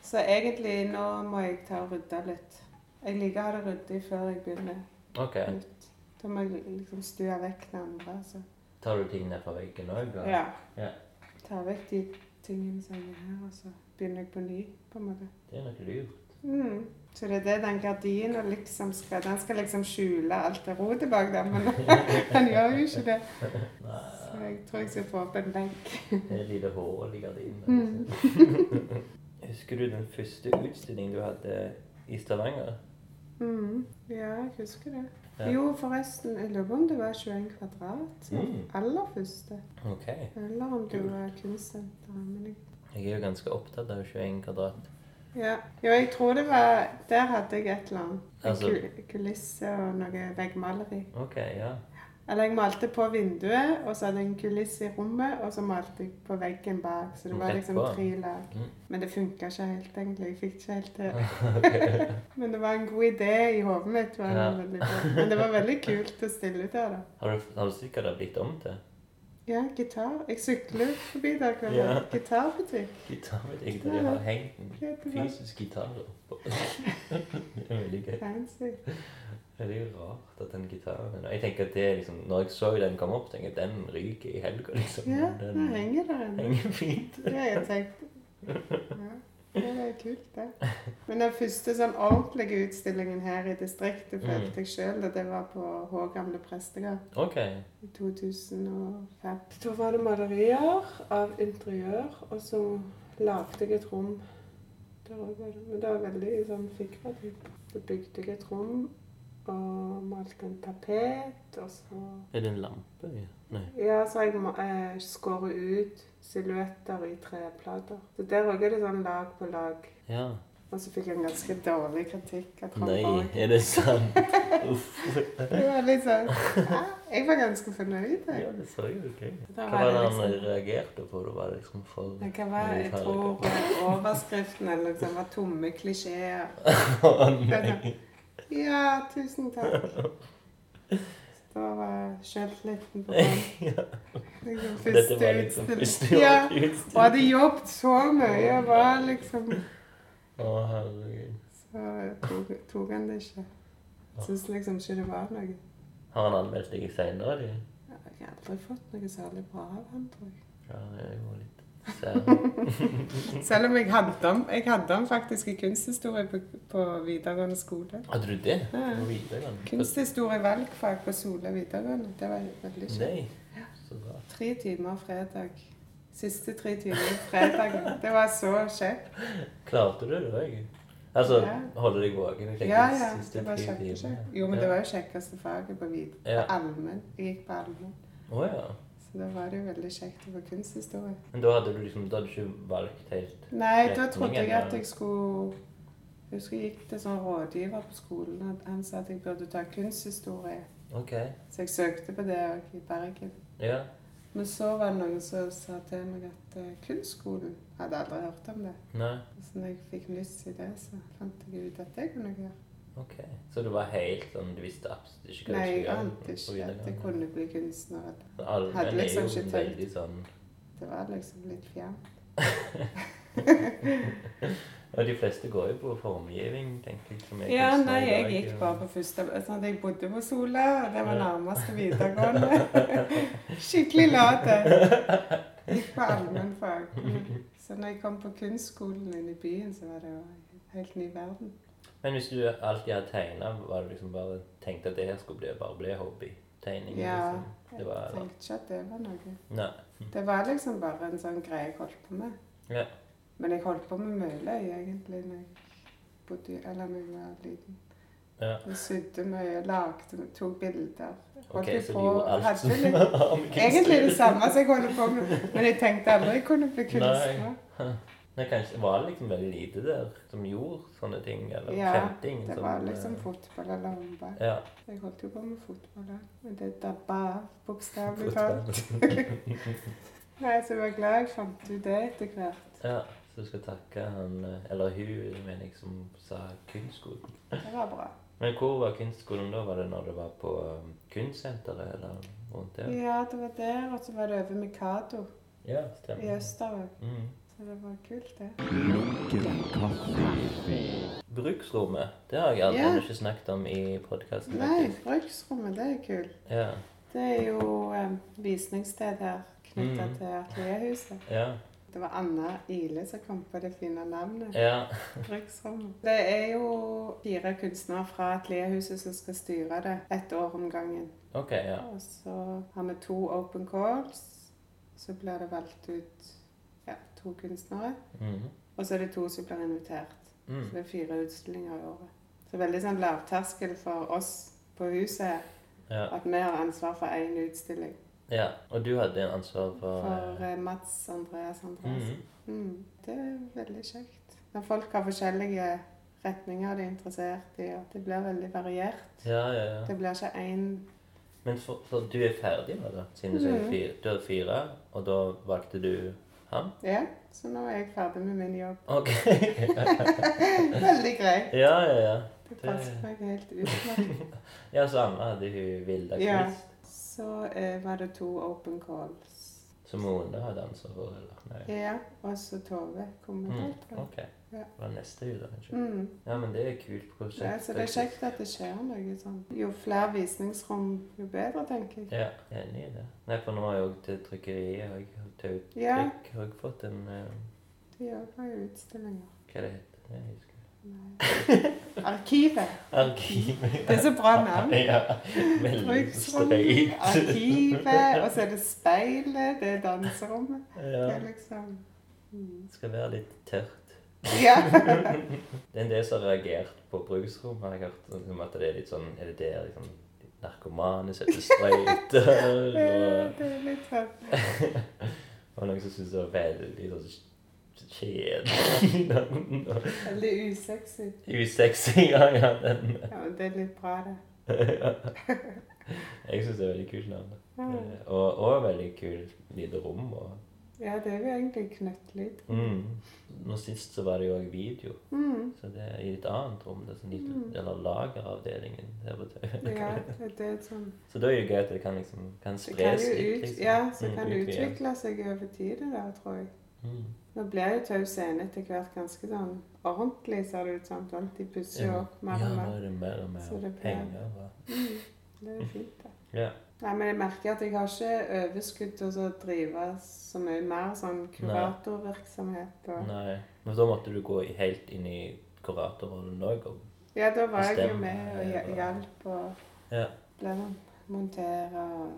Speaker 2: Så egentlig nå må jeg ta og rydde litt. Jeg liker å ha det ryddig før jeg begynner
Speaker 1: Ok.
Speaker 2: nytt. Da må jeg liksom stue vekk det andre. altså. Så.
Speaker 1: Tar du ting ned fra veggen òg?
Speaker 2: Ja.
Speaker 1: Ja.
Speaker 2: Ta vekk de tingene som er her, og så begynner jeg på ny, på en måte.
Speaker 1: Det er noe lurt.
Speaker 2: Mm. Så det er det den gardinen liksom skal Den skal liksom skjule alt det rotet bak der, men den gjør jo ikke det. Så jeg tror jeg skal få opp en benk.
Speaker 1: Det er et lite hull i gardinen.
Speaker 2: Mm.
Speaker 1: altså. Husker du den første utstillingen du hadde i Stavanger?
Speaker 2: Mm. Ja, jeg husker det.
Speaker 1: Ja.
Speaker 2: Jo, forresten, jeg lurer på om det var 21 kvadrat. som
Speaker 1: Mm.
Speaker 2: Aller første.
Speaker 1: Ok.
Speaker 2: Eller om det
Speaker 1: Kult.
Speaker 2: var kunstsenteret. Men jeg...
Speaker 1: Jeg er jo ganske opptatt av 21 kvadrat.
Speaker 2: Ja. Jo, jeg tror det var Der hadde jeg et eller annet. En
Speaker 1: Altså-
Speaker 2: kul- kulisse og noe veggmaleri.
Speaker 1: Ok, ja.
Speaker 2: Eller jeg malte på vinduet, og så hadde jeg en kulisse i rommet, og så malte jeg på veggen bak. Så det var
Speaker 1: Rett
Speaker 2: liksom
Speaker 1: på.
Speaker 2: tre lag.
Speaker 1: Mm.
Speaker 2: Men det funka ikke helt, egentlig. Jeg fikk ikke helt til. Men det var en god idé i hodet mitt. Var det
Speaker 1: Ja.
Speaker 2: veldig bra. Men det var veldig kult å stille ut der, da.
Speaker 1: Har du, har du sett hva det har blitt om til?
Speaker 2: Ja, gitar. Jeg sykler forbi der hver
Speaker 1: Ja.
Speaker 2: dag. Gitarbutikk.
Speaker 1: Gitar, vet jeg. De har hengt en
Speaker 2: Ja, det var-
Speaker 1: fysisk gitar oppå. Det er veldig gøy.
Speaker 2: Fancy.
Speaker 1: Det er jo rart at den gitaren Jeg tenker at det er liksom Når jeg så den komme opp, tenker jeg at den ryker i helga, liksom.
Speaker 2: Ja, den
Speaker 1: den
Speaker 2: henger der ennå.
Speaker 1: henger fint.
Speaker 2: Det har jeg tenkt. Ja, det er kult, det. Men den første sånn ordentlige utstillingen her i distriktet følte jeg sjøl, og det var på Hå gamle prestegard
Speaker 1: Ok.
Speaker 2: i 2005. Da var det malerier av interiør, og så lagde jeg et rom der òg, var det. Men det var veldig sånn figurativt. Da bygde jeg et rom og malte en tapet, og så
Speaker 1: Er det en lampe? Ja. Nei.
Speaker 2: ja, så jeg må- eh, skårer ut silhuetter i treplater. Så der òg er det sånn lag på lag.
Speaker 1: Ja.
Speaker 2: Og så fikk jeg en ganske dårlig kritikk av
Speaker 1: Nei,
Speaker 2: Tromborg.
Speaker 1: er det sant?
Speaker 2: Det var litt sånn ja, Jeg var ganske fornøyd, jeg.
Speaker 1: Ja, det så jo ok.
Speaker 2: Da
Speaker 1: Hva
Speaker 2: var
Speaker 1: var det
Speaker 2: det
Speaker 1: han
Speaker 2: liksom-
Speaker 1: reagerte på? Det var liksom for
Speaker 2: Det kan være, jeg tror eh, overskriften eller noe sånt var tomme klisjeer.
Speaker 1: Å,
Speaker 2: Det er
Speaker 1: nei.
Speaker 2: sånn, Ja, tusen takk. Så Da var sjøltilliten på bånn.
Speaker 1: Ja,
Speaker 2: Det var
Speaker 1: Dette var liksom
Speaker 2: utstillingen.
Speaker 1: første
Speaker 2: Ja,
Speaker 1: året
Speaker 2: og
Speaker 1: utstilt.
Speaker 2: hadde jobbet så mye og var liksom
Speaker 1: Å, herregud.
Speaker 2: Så tok, tok han det ikke. Syns liksom ikke det var noe.
Speaker 1: Har han anmeldt deg seinere, de?
Speaker 2: Jeg har aldri fått noe særlig bra av han, tror jeg.
Speaker 1: Ja, det er jo litt sær.
Speaker 2: Selv om jeg hadde ham jeg hadde ham faktisk i kunsthistorie på, på videregående skole.
Speaker 1: Hadde du det?
Speaker 2: Ja.
Speaker 1: På videregående?
Speaker 2: Kunsthistorie valgfag på Sola videregående. Det var veldig kjekt.
Speaker 1: Nei. Så bra.
Speaker 2: Tre timer fredag. Siste tre timer fredag. Det var så kjekt.
Speaker 1: Klarte du det òg? Altså,
Speaker 2: Ja.
Speaker 1: holde deg våken? Jeg tenker
Speaker 2: Ja, ja.
Speaker 1: siste
Speaker 2: Det var
Speaker 1: ti
Speaker 2: kjempekjekt.
Speaker 1: timene.
Speaker 2: Jo, men det
Speaker 1: Ja.
Speaker 2: var jo kjekkeste faget på vid-
Speaker 1: Ja.
Speaker 2: på allmenn. Jeg gikk på allmenn.
Speaker 1: Å ja.
Speaker 2: Så da var det jo veldig kjekt å få kunsthistorie.
Speaker 1: Men da hadde du liksom Da hadde du ikke valgt helt
Speaker 2: Nei, da
Speaker 1: Retningen,
Speaker 2: trodde jeg at
Speaker 1: ja.
Speaker 2: jeg skulle Jeg husker jeg gikk til sånn rådgiver på skolen, og han sa at jeg burde ta kunsthistorie.
Speaker 1: OK.
Speaker 2: Så jeg søkte på det også i Bergen.
Speaker 1: Ja.
Speaker 2: Men så var det noen som sa til meg at eh, kunstskolen hadde aldri hørt om det.
Speaker 1: Nei.
Speaker 2: Og så når jeg fikk lyst til det, så fant jeg ut at det kunne jeg gjøre.
Speaker 1: OK. Så du var helt sånn Du visste absolutt ikke
Speaker 2: Nei,
Speaker 1: hva du
Speaker 2: jeg
Speaker 1: skulle på
Speaker 2: ante ikke at jeg
Speaker 1: videregående?
Speaker 2: kunne bli kunstner.
Speaker 1: Men Alle
Speaker 2: Hadde
Speaker 1: er
Speaker 2: liksom
Speaker 1: jo
Speaker 2: ikke tenkt.
Speaker 1: veldig sånn
Speaker 2: Det var liksom litt fjernt.
Speaker 1: Ja, de fleste går jo på formgivning, tenker jeg. Som er
Speaker 2: Ja,
Speaker 1: kunstner
Speaker 2: nei,
Speaker 1: i
Speaker 2: jeg
Speaker 1: dag,
Speaker 2: gikk
Speaker 1: og-
Speaker 2: bare på første sånn at Jeg bodde på Sola, og det var
Speaker 1: Ja.
Speaker 2: nærmeste videregående. Skikkelig late. Gikk på allmennfag. Så når jeg kom på kunstskolen inne i byen, så var det jo en helt ny verden.
Speaker 1: Men hvis du alltid hadde tegna, var det liksom bare tenkt at det her skulle bli, bare bli hobbytegning?
Speaker 2: Ja,
Speaker 1: Liksom.
Speaker 2: jeg
Speaker 1: Det var-
Speaker 2: tenkte ikke at det var noe.
Speaker 1: Nei.
Speaker 2: Det var liksom bare en sånn greie jeg holdt på med.
Speaker 1: Ja.
Speaker 2: Men jeg holdt på med mye egentlig når jeg bodde i Eller når jeg var liten.
Speaker 1: Ja.
Speaker 2: Jeg sydde mye, lagde, tok bilder.
Speaker 1: Ok,
Speaker 2: Holdt
Speaker 1: så
Speaker 2: på-
Speaker 1: du gjorde alt
Speaker 2: hadde
Speaker 1: som
Speaker 2: litt-
Speaker 1: har med
Speaker 2: Egentlig
Speaker 1: kunst å
Speaker 2: det samme som jeg holder på med, men jeg tenkte aldri jeg kunne bli kunstner.
Speaker 1: Nei, kanskje var det liksom veldig lite der som gjorde sånne ting, eller
Speaker 2: Ja,
Speaker 1: kjemping?
Speaker 2: Det
Speaker 1: som,
Speaker 2: var
Speaker 1: eh,
Speaker 2: liksom fotball eller håndball.
Speaker 1: Ja,
Speaker 2: Jeg holdt jo på med fotball, da. men det dabba av, bokstavelig talt.
Speaker 1: fotball.
Speaker 2: Nei, så jeg var glad jeg fant ut det etter hvert.
Speaker 1: Ja, så du skal takke han, eh, eller hun, mener jeg, som sa kunstskolen.
Speaker 2: Det var bra.
Speaker 1: Men hvor var kunstskolen da? Var det når du var på eh, kunstsenteret, eller rundt der?
Speaker 2: Ja, det var der, og så var det over Mikado
Speaker 1: Ja, stemmer.
Speaker 2: i Østerøy.
Speaker 1: Mm.
Speaker 2: Så det var kult, det.
Speaker 3: Lunken kaffe.
Speaker 1: Bruksrommet, det har jeg aldri
Speaker 2: Ja.
Speaker 1: ikke snakket om i podkasten.
Speaker 2: Nei, bruksrommet, det er kult.
Speaker 1: Ja,
Speaker 2: Det er jo eh, visningssted her knytta
Speaker 1: Mhm.
Speaker 2: til Atelierhuset.
Speaker 1: ja,
Speaker 2: Det var Anna Ile som kom på det fine navnet.
Speaker 1: ja.
Speaker 2: Bruksrommet. Det er jo fire kunstnere fra Atelierhuset som skal styre det ett år om gangen.
Speaker 1: Ok, ja.
Speaker 2: Og så har vi to open calls. Så blir det valgt ut ja, to kunstnere.
Speaker 1: Mhm.
Speaker 2: Og så er det to som blir invitert. Så
Speaker 1: Mm.
Speaker 2: det er fire utstillinger i året. Så veldig sånn lavterskel for oss på huset her,
Speaker 1: Ja.
Speaker 2: at vi har ansvar for én utstilling.
Speaker 1: ja. Og du hadde en ansvar for
Speaker 2: For
Speaker 1: eh,
Speaker 2: eh, Mats Andreas Andreassen.
Speaker 1: mhm.
Speaker 2: Mm, det er veldig kjekt. Når folk har forskjellige retninger de er interessert i, og det blir veldig variert.
Speaker 1: Ja, ja, ja.
Speaker 2: Det blir ikke én
Speaker 1: Men for, for du er ferdig nå, da? Siden du sier
Speaker 2: Mhm.
Speaker 1: fire, du hadde fire, og da valgte du han?
Speaker 2: Ja, så nå er jeg ferdig med min jobb.
Speaker 1: Ok.
Speaker 2: Veldig greit.
Speaker 1: ja, ja, ja.
Speaker 2: Det
Speaker 1: Det-
Speaker 2: passer meg helt utmerket.
Speaker 1: Ja, så Anna hadde hun Vilda
Speaker 2: Ja.
Speaker 1: Kvist,
Speaker 2: Så eh, var det to open calls.
Speaker 1: som Mone hadde ansvar for, eller? Nei.
Speaker 2: Ja, og så Tove kom med
Speaker 1: Mm.
Speaker 2: det, tror jeg.
Speaker 1: Ok.
Speaker 2: Ja.
Speaker 1: Det var neste hun, da, kanskje.
Speaker 2: Mm.
Speaker 1: Ja, men det er kult prosjekt.
Speaker 2: Ja, så det er kjekt at det skjer noe sånn. Jo flere visningsrom, jo bedre, tenker jeg.
Speaker 1: Ja, jeg er enig i det. Nei, for nå har jeg òg til trykkeriet og Tautrykk
Speaker 2: Ja.
Speaker 1: har jeg fått en eh,
Speaker 2: De òg har jo utstillinger.
Speaker 1: Hva det heter det? Jeg husker ikke.
Speaker 2: Nei. Arkivet.
Speaker 1: Arkiv.
Speaker 2: Det er så bra navn.
Speaker 1: ja. Veldig
Speaker 2: Bruksrommet,
Speaker 1: streit.
Speaker 2: arkivet, og så er det speilet, det er danserommet.
Speaker 1: Ja.
Speaker 2: Det er liksom mm.
Speaker 1: Det skal være litt tørt.
Speaker 2: Ja.
Speaker 1: Det er en del som har reagert på bruksrom, har jeg hørt. sånn Som at det er litt sånn Er det der liksom narkomane setter sprøyter?
Speaker 2: Det
Speaker 1: og,
Speaker 2: det er litt sånn.
Speaker 1: og noen som syns det var veldig sånn Kjedelig.
Speaker 2: Veldig usexy.
Speaker 1: Usexy. Ja, ja, den.
Speaker 2: Ja, men det er litt bra, det.
Speaker 1: Ja. Jeg syns det er veldig kult navn.
Speaker 2: Ja,
Speaker 1: Eh, Og, og veldig kult lite rom. Og,
Speaker 2: ja det er jo egentlig knøttlyd.
Speaker 1: mm. Nå sist så var det jo òg video,
Speaker 2: Mm.
Speaker 1: så det er i et annet rom. Det er sånn lite, Eller lageravdelingen. Der på TV.
Speaker 2: Ja, det det er sånn.
Speaker 1: Så da er det jo gøy at det kan liksom kan
Speaker 2: Det kan
Speaker 1: spres
Speaker 2: jo
Speaker 1: litt.
Speaker 2: ut,
Speaker 1: Liksom.
Speaker 2: ja, så
Speaker 1: Mm,
Speaker 2: kan det
Speaker 1: utvide.
Speaker 2: utvikle seg over tid, det der, tror jeg.
Speaker 1: Mm.
Speaker 2: Nå blir jo Tau Scene etter hvert ganske sånn ordentlig, ser det ut som. Sånn. De pusser jo
Speaker 1: Ja.
Speaker 2: opp
Speaker 1: Ja,
Speaker 2: mer og
Speaker 1: nå
Speaker 2: mer.
Speaker 1: er det mer og mer
Speaker 2: Så det blir-
Speaker 1: penger. Og,
Speaker 2: Mm. Det er jo fint, det.
Speaker 1: ja.
Speaker 2: Nei, men jeg merker at jeg har ikke overskudd til å så drive så mye mer sånn kuratorvirksomhet. Og...
Speaker 1: Nei. Men da måtte du gå i- helt inn i kuratorrollen òg. Og,
Speaker 2: Ja, da var jeg jo
Speaker 1: Bestemme,
Speaker 2: med og hj- hjalp og
Speaker 1: ja.
Speaker 2: ble sånn montere og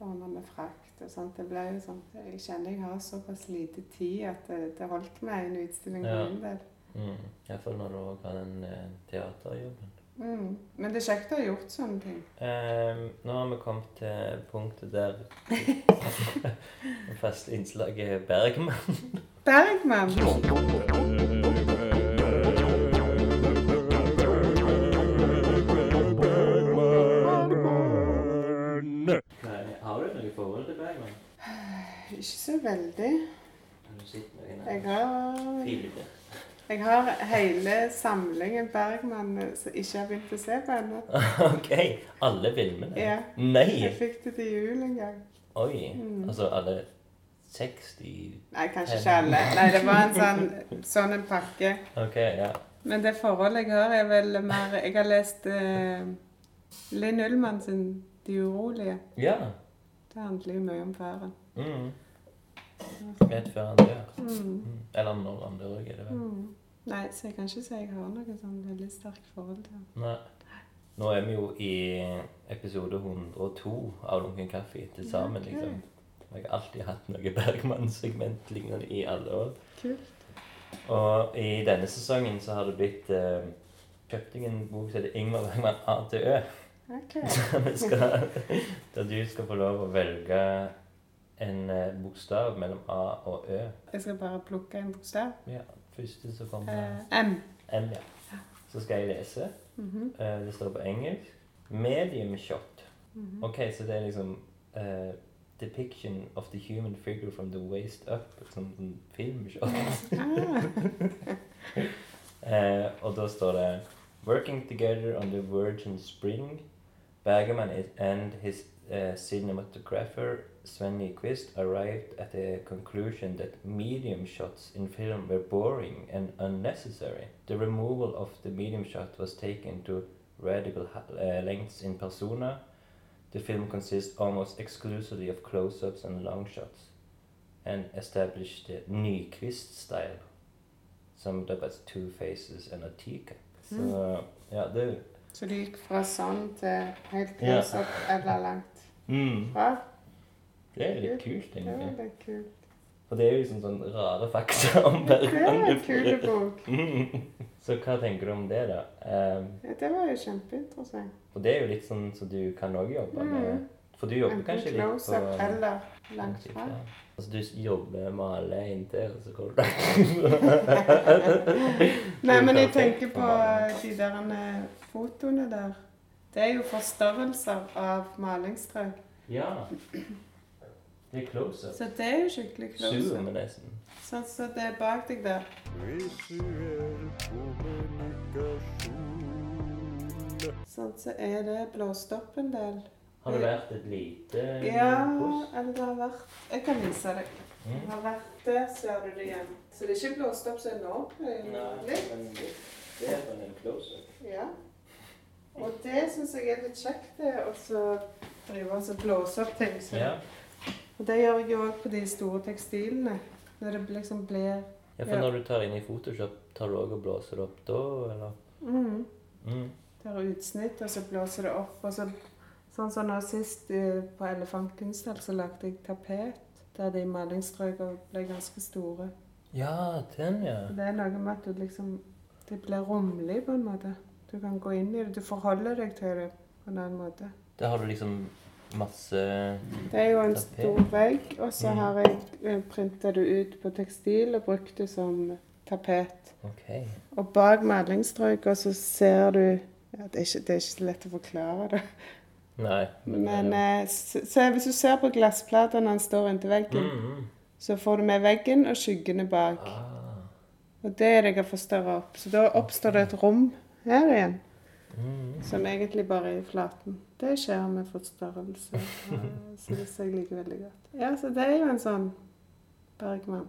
Speaker 2: ordne med frakt og sånt. Det ble jo sånn Jeg kjenner jeg har såpass lite tid at det, det holdt med en utstilling for
Speaker 1: Ja.
Speaker 2: min del.
Speaker 1: Mm. Iallfall når du òg har den eh, teaterjobben.
Speaker 2: Mm. Men det er kjekt å ha gjort sånne ting.
Speaker 1: Ehm, nå har vi kommet til punktet der det faste innslaget Bergman.
Speaker 2: Bergman!
Speaker 1: Nei, har du noe forhold til Bergman?
Speaker 2: Ikke så veldig.
Speaker 1: Har du sett
Speaker 2: Jeg
Speaker 1: noen
Speaker 2: har
Speaker 1: filmer?
Speaker 2: Jeg har hele samlingen Bergman eh, som ikke har begynt å se på ennå.
Speaker 1: OK. Alle filmene?
Speaker 2: Ja. Jeg
Speaker 1: Nei!
Speaker 2: fikk det til jul en gang.
Speaker 1: Oi.
Speaker 2: Mm.
Speaker 1: Altså alle 60
Speaker 2: Nei, kanskje ikke alle. Nei, det var en sånn, sånn en pakke.
Speaker 1: OK, ja.
Speaker 2: Men det forholdet jeg har, er vel mer Jeg har lest eh, Linn Ullmann sin 'De urolige'.
Speaker 1: Ja.
Speaker 2: Det handler jo mye om faren.
Speaker 1: Mm. Rett før han dør.
Speaker 2: Mm.
Speaker 1: Mm. Eller når han dør, er det vel.
Speaker 2: Mm. Nei, så jeg kan ikke si jeg har noe sånn veldig sterkt forhold til ham.
Speaker 1: Nei. Nå er vi jo i episode 102 av Lunken kaffe til sammen,
Speaker 2: Ok.
Speaker 1: liksom. Jeg har alltid hatt noe Bergman-segment lignende i alle år.
Speaker 2: Kult.
Speaker 1: Og i denne sesongen så har det blitt eh, Kjøpt jeg en bok som heter Ingmar Bergman A til Ø.
Speaker 2: Ok.
Speaker 1: Så vi skal- Der du skal få lov å velge en eh, bokstav mellom A og Ø.
Speaker 2: Jeg skal bare plukke en bokstav.
Speaker 1: Ja, første så kommer
Speaker 2: Eh, M.
Speaker 1: M, ja. Så skal jeg lese.
Speaker 2: Mhm.
Speaker 1: Eh, Det står på engelsk. Medium shot.
Speaker 2: Mhm.
Speaker 1: Ok, så det er liksom eh, Depiction of the human figure from the waist up. Sånn en filmshot.
Speaker 2: Ah.
Speaker 1: Eh, og da står det Working together on the Virgin Spring. Bergman is, and his eh, cinematographer Sven Nyquist arrived at the conclusion that medium shots in film were boring and unnecessary. The removal of the medium shot was taken to radical ha- uh, lengths in persona. The film consists almost exclusively of close ups and long shots, and established the Nyquist style, summed up as two faces and a teacup. Så
Speaker 2: Mm.
Speaker 1: ja, det
Speaker 2: Så du gikk fra sånn til helt
Speaker 1: Ja.
Speaker 2: close up eller langt
Speaker 1: mm,
Speaker 2: fra?
Speaker 1: Det er litt kult,
Speaker 2: Det var
Speaker 1: egentlig.
Speaker 2: veldig kult.
Speaker 1: For det er jo liksom sånn rare fakta om
Speaker 2: Det var en kul
Speaker 1: Bergman.
Speaker 2: bok.
Speaker 1: Mm. Så hva tenker du om det, da? Um,
Speaker 2: Ja, Det var jo kjempeinteressant.
Speaker 1: for det er jo litt sånn som du kan òg jobbe med.
Speaker 2: Mm.
Speaker 1: For du jobber
Speaker 2: Enten
Speaker 1: kanskje litt på
Speaker 2: close up eller langt fra.
Speaker 1: Altså, du jobber med alle inntil, og så går du langt.
Speaker 2: Nei,
Speaker 1: er
Speaker 2: men jeg
Speaker 1: perfekt
Speaker 2: tenker
Speaker 1: for
Speaker 2: på
Speaker 1: maling.
Speaker 2: de der eh, fotoene der. Det er jo forstørrelser av malingsstrøk.
Speaker 1: Ja. Det er close up.
Speaker 2: Så det er jo skikkelig close
Speaker 1: Zoom
Speaker 2: up.
Speaker 1: er nesten.
Speaker 2: Sånn som det er bak deg der.
Speaker 5: Visuell kommunikasjon.
Speaker 2: Sånn så er det blåst opp en del.
Speaker 1: Har det vært et lite
Speaker 2: Ja,
Speaker 1: kos?
Speaker 2: eller det har vært Jeg kan vise deg. Det
Speaker 1: Mm.
Speaker 2: har vært der, ser du det igjen. Så det er ikke blåst opp så enormt. det er jo
Speaker 1: Nei,
Speaker 2: litt.
Speaker 1: men litt bedre enn en close up.
Speaker 2: Ja. Og det syns jeg er litt kjekt, det. å så drive og så blåse opp ting. Så.
Speaker 1: Ja.
Speaker 2: Og det gjør jeg jo òg på de store tekstilene. Når det liksom blir
Speaker 1: ja, for
Speaker 2: Ja.
Speaker 1: når du tar inn i Photoshop, tar du òg og blåser det opp da, eller?
Speaker 2: mm,
Speaker 1: Mm.
Speaker 2: Der er utsnitt, og så blåser det opp. Og så, sånn som nå sist eh, på Elefantkunsthall, så lagde jeg tapet. Der de malingsstrøkene ble ganske store.
Speaker 1: Ja, den, ja.
Speaker 2: Det er noe med at du liksom Det blir romlig på en måte. Du kan gå inn i det. Du forholder deg til det på en annen måte.
Speaker 1: Da har du liksom Masse
Speaker 2: Det er jo en
Speaker 1: Tapet.
Speaker 2: stor vegg, og så
Speaker 1: Mm.
Speaker 2: har jeg printa det ut på tekstil og brukt det som tapet.
Speaker 1: OK.
Speaker 2: Og bak malingsstrøka så ser du ja, det, er ikke, det er ikke så lett å forklare det.
Speaker 1: Nei.
Speaker 2: Men eh, s- se, hvis du ser på glassplatene han står inntil veggen,
Speaker 1: Mm, mm.
Speaker 2: så får du med veggen og skyggene bak.
Speaker 1: Ah.
Speaker 2: Og det er det jeg har forstørra opp. Så da oppstår det et rom her igjen,
Speaker 1: Mm.
Speaker 2: som egentlig bare er i flaten. Det skjer med forstørrelse. Det syns jeg liker veldig godt. Ja, så det er jo en sånn Bergman.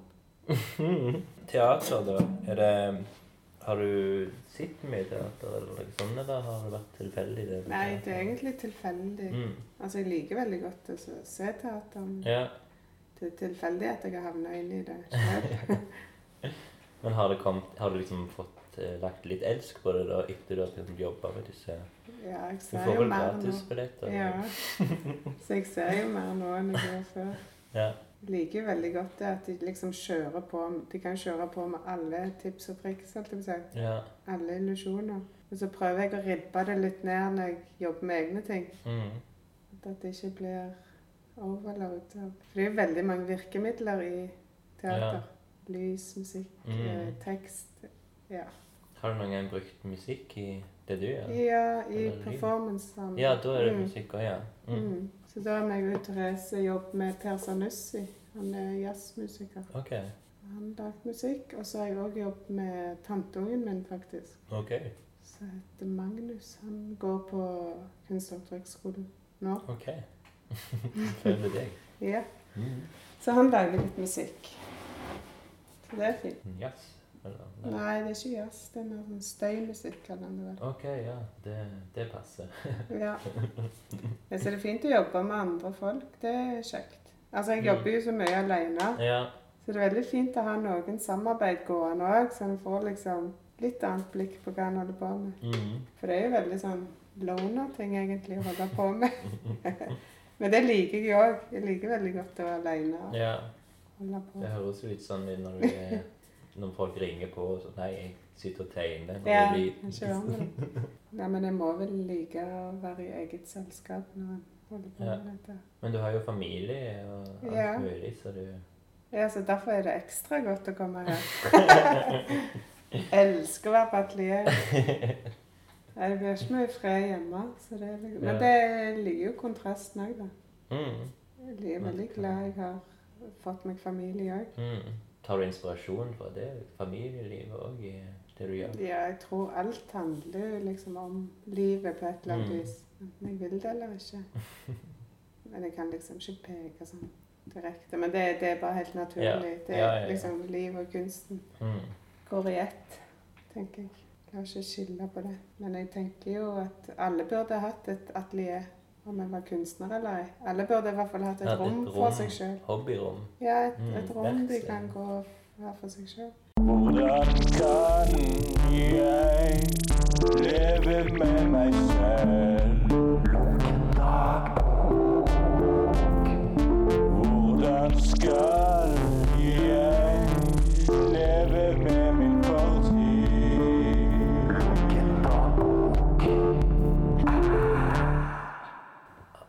Speaker 1: Mm. Teater, da? Er det Har du sett mye teater eller noe sånt, eller har det vært tilfeldig? det? med
Speaker 2: Nei, det er
Speaker 1: teater?
Speaker 2: egentlig tilfeldig.
Speaker 1: mm.
Speaker 2: Altså, jeg liker veldig godt å se- se teater. men
Speaker 1: Ja.
Speaker 2: Det er tilfeldig at jeg har havna inn i det selv.
Speaker 1: Men har, det kommet, har du liksom fått eh, lagt litt elsk på det da, etter du har begynt å jobbe med disse
Speaker 2: Ja, jeg
Speaker 1: Du
Speaker 2: ser
Speaker 1: får
Speaker 2: jo
Speaker 1: vel
Speaker 2: mer nå.
Speaker 1: gratisbilletter?
Speaker 2: Ja. Så jeg ser jo mer nå enn jeg gjorde før.
Speaker 1: ja.
Speaker 2: Jeg liker jo veldig godt det at de liksom kjører på De kan kjøre på med alle tips og triks, alt jeg vil si.
Speaker 1: Ja.
Speaker 2: Alle illusjoner. Og så prøver jeg å ribbe det litt ned når jeg jobber med egne ting.
Speaker 1: Mm.
Speaker 2: At det ikke blir overload. av- For det er jo veldig mange virkemidler i teater. Lys, musikk,
Speaker 1: Mm.
Speaker 2: eh, tekst. Ja,
Speaker 1: Har du noen gang brukt musikk i det du gjør?
Speaker 2: ja i
Speaker 1: Eller lyd.
Speaker 2: performancene.
Speaker 1: Ja, da er det
Speaker 2: Mm.
Speaker 1: musikk òg, ja. Mm.
Speaker 2: Mm. Så da har vi og Therese jobb med Per Sarnussi. Han er jazzmusiker.
Speaker 1: OK.
Speaker 2: Han lagde musikk, og så har jeg òg jobb med tanteungen min, faktisk.
Speaker 1: ok,
Speaker 2: Som heter Magnus. Han går på kunsthåndverksskolen nå.
Speaker 1: ok. Følger deg.
Speaker 2: Ja.
Speaker 1: Mm.
Speaker 2: Så han lager litt musikk. Så det er fint.
Speaker 1: Jazz? Eller? Nei.
Speaker 2: Nei, det er ikke jazz. Det er mer sånn støymusikk, kaller han det vel.
Speaker 1: OK, ja. Det, det passer.
Speaker 2: Ja. Jeg synes det er fint å jobbe med andre folk. Det er kjekt. Altså, jeg jobber jo så mye alene,
Speaker 1: Ja.
Speaker 2: så det er veldig fint å ha noen samarbeid gående òg, så en får liksom litt annet blikk på hva en holder på med.
Speaker 1: Mm.
Speaker 2: For det er jo veldig sånn loner-ting egentlig å holde på med. Men det liker jeg òg. Jeg liker veldig godt å være aleine og
Speaker 1: ja.
Speaker 2: holde på.
Speaker 1: Det høres jo litt sånn ut når, du er- når folk ringer på og sånn Nei, jeg sitter og tegner. når
Speaker 2: Ja,
Speaker 1: jeg blir-
Speaker 2: jeg kjører med det. Ja, men jeg må vel like å være i eget selskap når en holder på
Speaker 1: Ja.
Speaker 2: med dette.
Speaker 1: Men du har jo familie og alt
Speaker 2: Ja.
Speaker 1: mulig, så du
Speaker 2: Ja, så derfor er det ekstra godt å komme her. Elsker å være på atelier. Nei, Det blir ikke mye fred hjemme. Så det er litt...
Speaker 1: Ja.
Speaker 2: Men det jeg liker jo kontrasten òg, da.
Speaker 1: mm.
Speaker 2: Jeg er veldig glad jeg har fått meg familie òg.
Speaker 1: Mm. Tar du inspirasjon fra det? Familielivet òg i det du gjør?
Speaker 2: Ja, jeg tror alt handler jo liksom om livet på et eller annet
Speaker 1: Mm.
Speaker 2: vis. Enten jeg vil det eller ikke. Men jeg kan liksom ikke peke sånn direkte. Men det, det er bare helt naturlig. Det
Speaker 1: Ja, ja,
Speaker 2: er
Speaker 1: ja.
Speaker 2: liksom livet og kunsten.
Speaker 1: Mm.
Speaker 2: går i ett, tenker jeg. Jeg har ikke skille på det. Men jeg tenker jo at alle burde hatt et atelier, om en var kunstner eller ei. Alle burde i hvert fall hatt et
Speaker 1: Ja, et
Speaker 2: rom
Speaker 1: rom.
Speaker 2: for seg sjøl.
Speaker 1: Hobbyrom.
Speaker 2: Ja, et,
Speaker 1: Mm,
Speaker 2: et rom de
Speaker 1: verksted.
Speaker 2: kan gå og være for seg sjøl.
Speaker 3: Hvordan kan jeg leve med meg selv? Hvordan skal jeg leve med min fortid?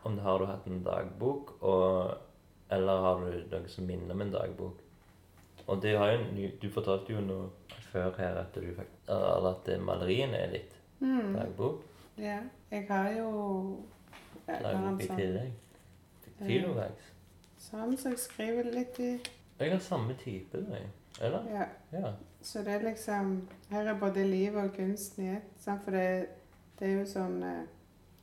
Speaker 1: Om det har du hatt en dagbok, og, eller har du noe som minner om en dagbok? Og det har jo, en ny- du fortalte jo noe før her at du fakt- eller at det- maleriene er ditt
Speaker 2: Mm.
Speaker 1: dagbok.
Speaker 2: Ja. Jeg har jo jeg har en
Speaker 1: Dagbok i
Speaker 2: sånn,
Speaker 1: tillegg. Filovax.
Speaker 2: sånn som jeg skriver litt i.
Speaker 1: Jeg har samme type, jeg. Eller?
Speaker 2: Ja.
Speaker 1: Ja.
Speaker 2: Så det er liksom Her er både livet og kunsten i ett. sant? For det, det er jo sånn eh,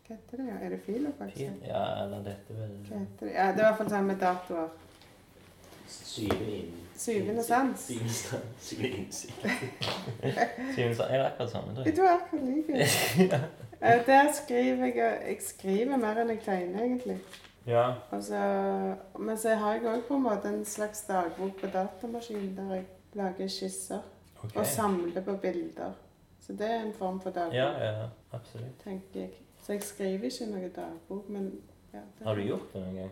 Speaker 2: Hva heter det? Er det filo, faktisk?
Speaker 1: Fin. Ja, eller dette er
Speaker 2: Hva
Speaker 1: vel
Speaker 2: heter det? Ja, det er i hvert fall sånn med datoer.
Speaker 1: Syvende inn.
Speaker 2: Syvende sans.
Speaker 1: Syvende innsikt. Syvende sans. Jeg er akkurat samme, tror
Speaker 2: De
Speaker 1: jeg.
Speaker 2: to er akkurat like. Eh, Der skriver jeg Jeg skriver mer enn jeg tegner, egentlig.
Speaker 1: Ja.
Speaker 2: Og så- Altså, men så har jeg òg på en måte en slags dagbok på datamaskinen der jeg lager skisser
Speaker 1: Ok.
Speaker 2: og samler på bilder. Så det er en form for dagbok,
Speaker 1: Ja, ja, ja, absolutt.
Speaker 2: tenker jeg. Så jeg skriver ikke noe dagbok, men ja, det,
Speaker 1: Har du gjort det noen gang?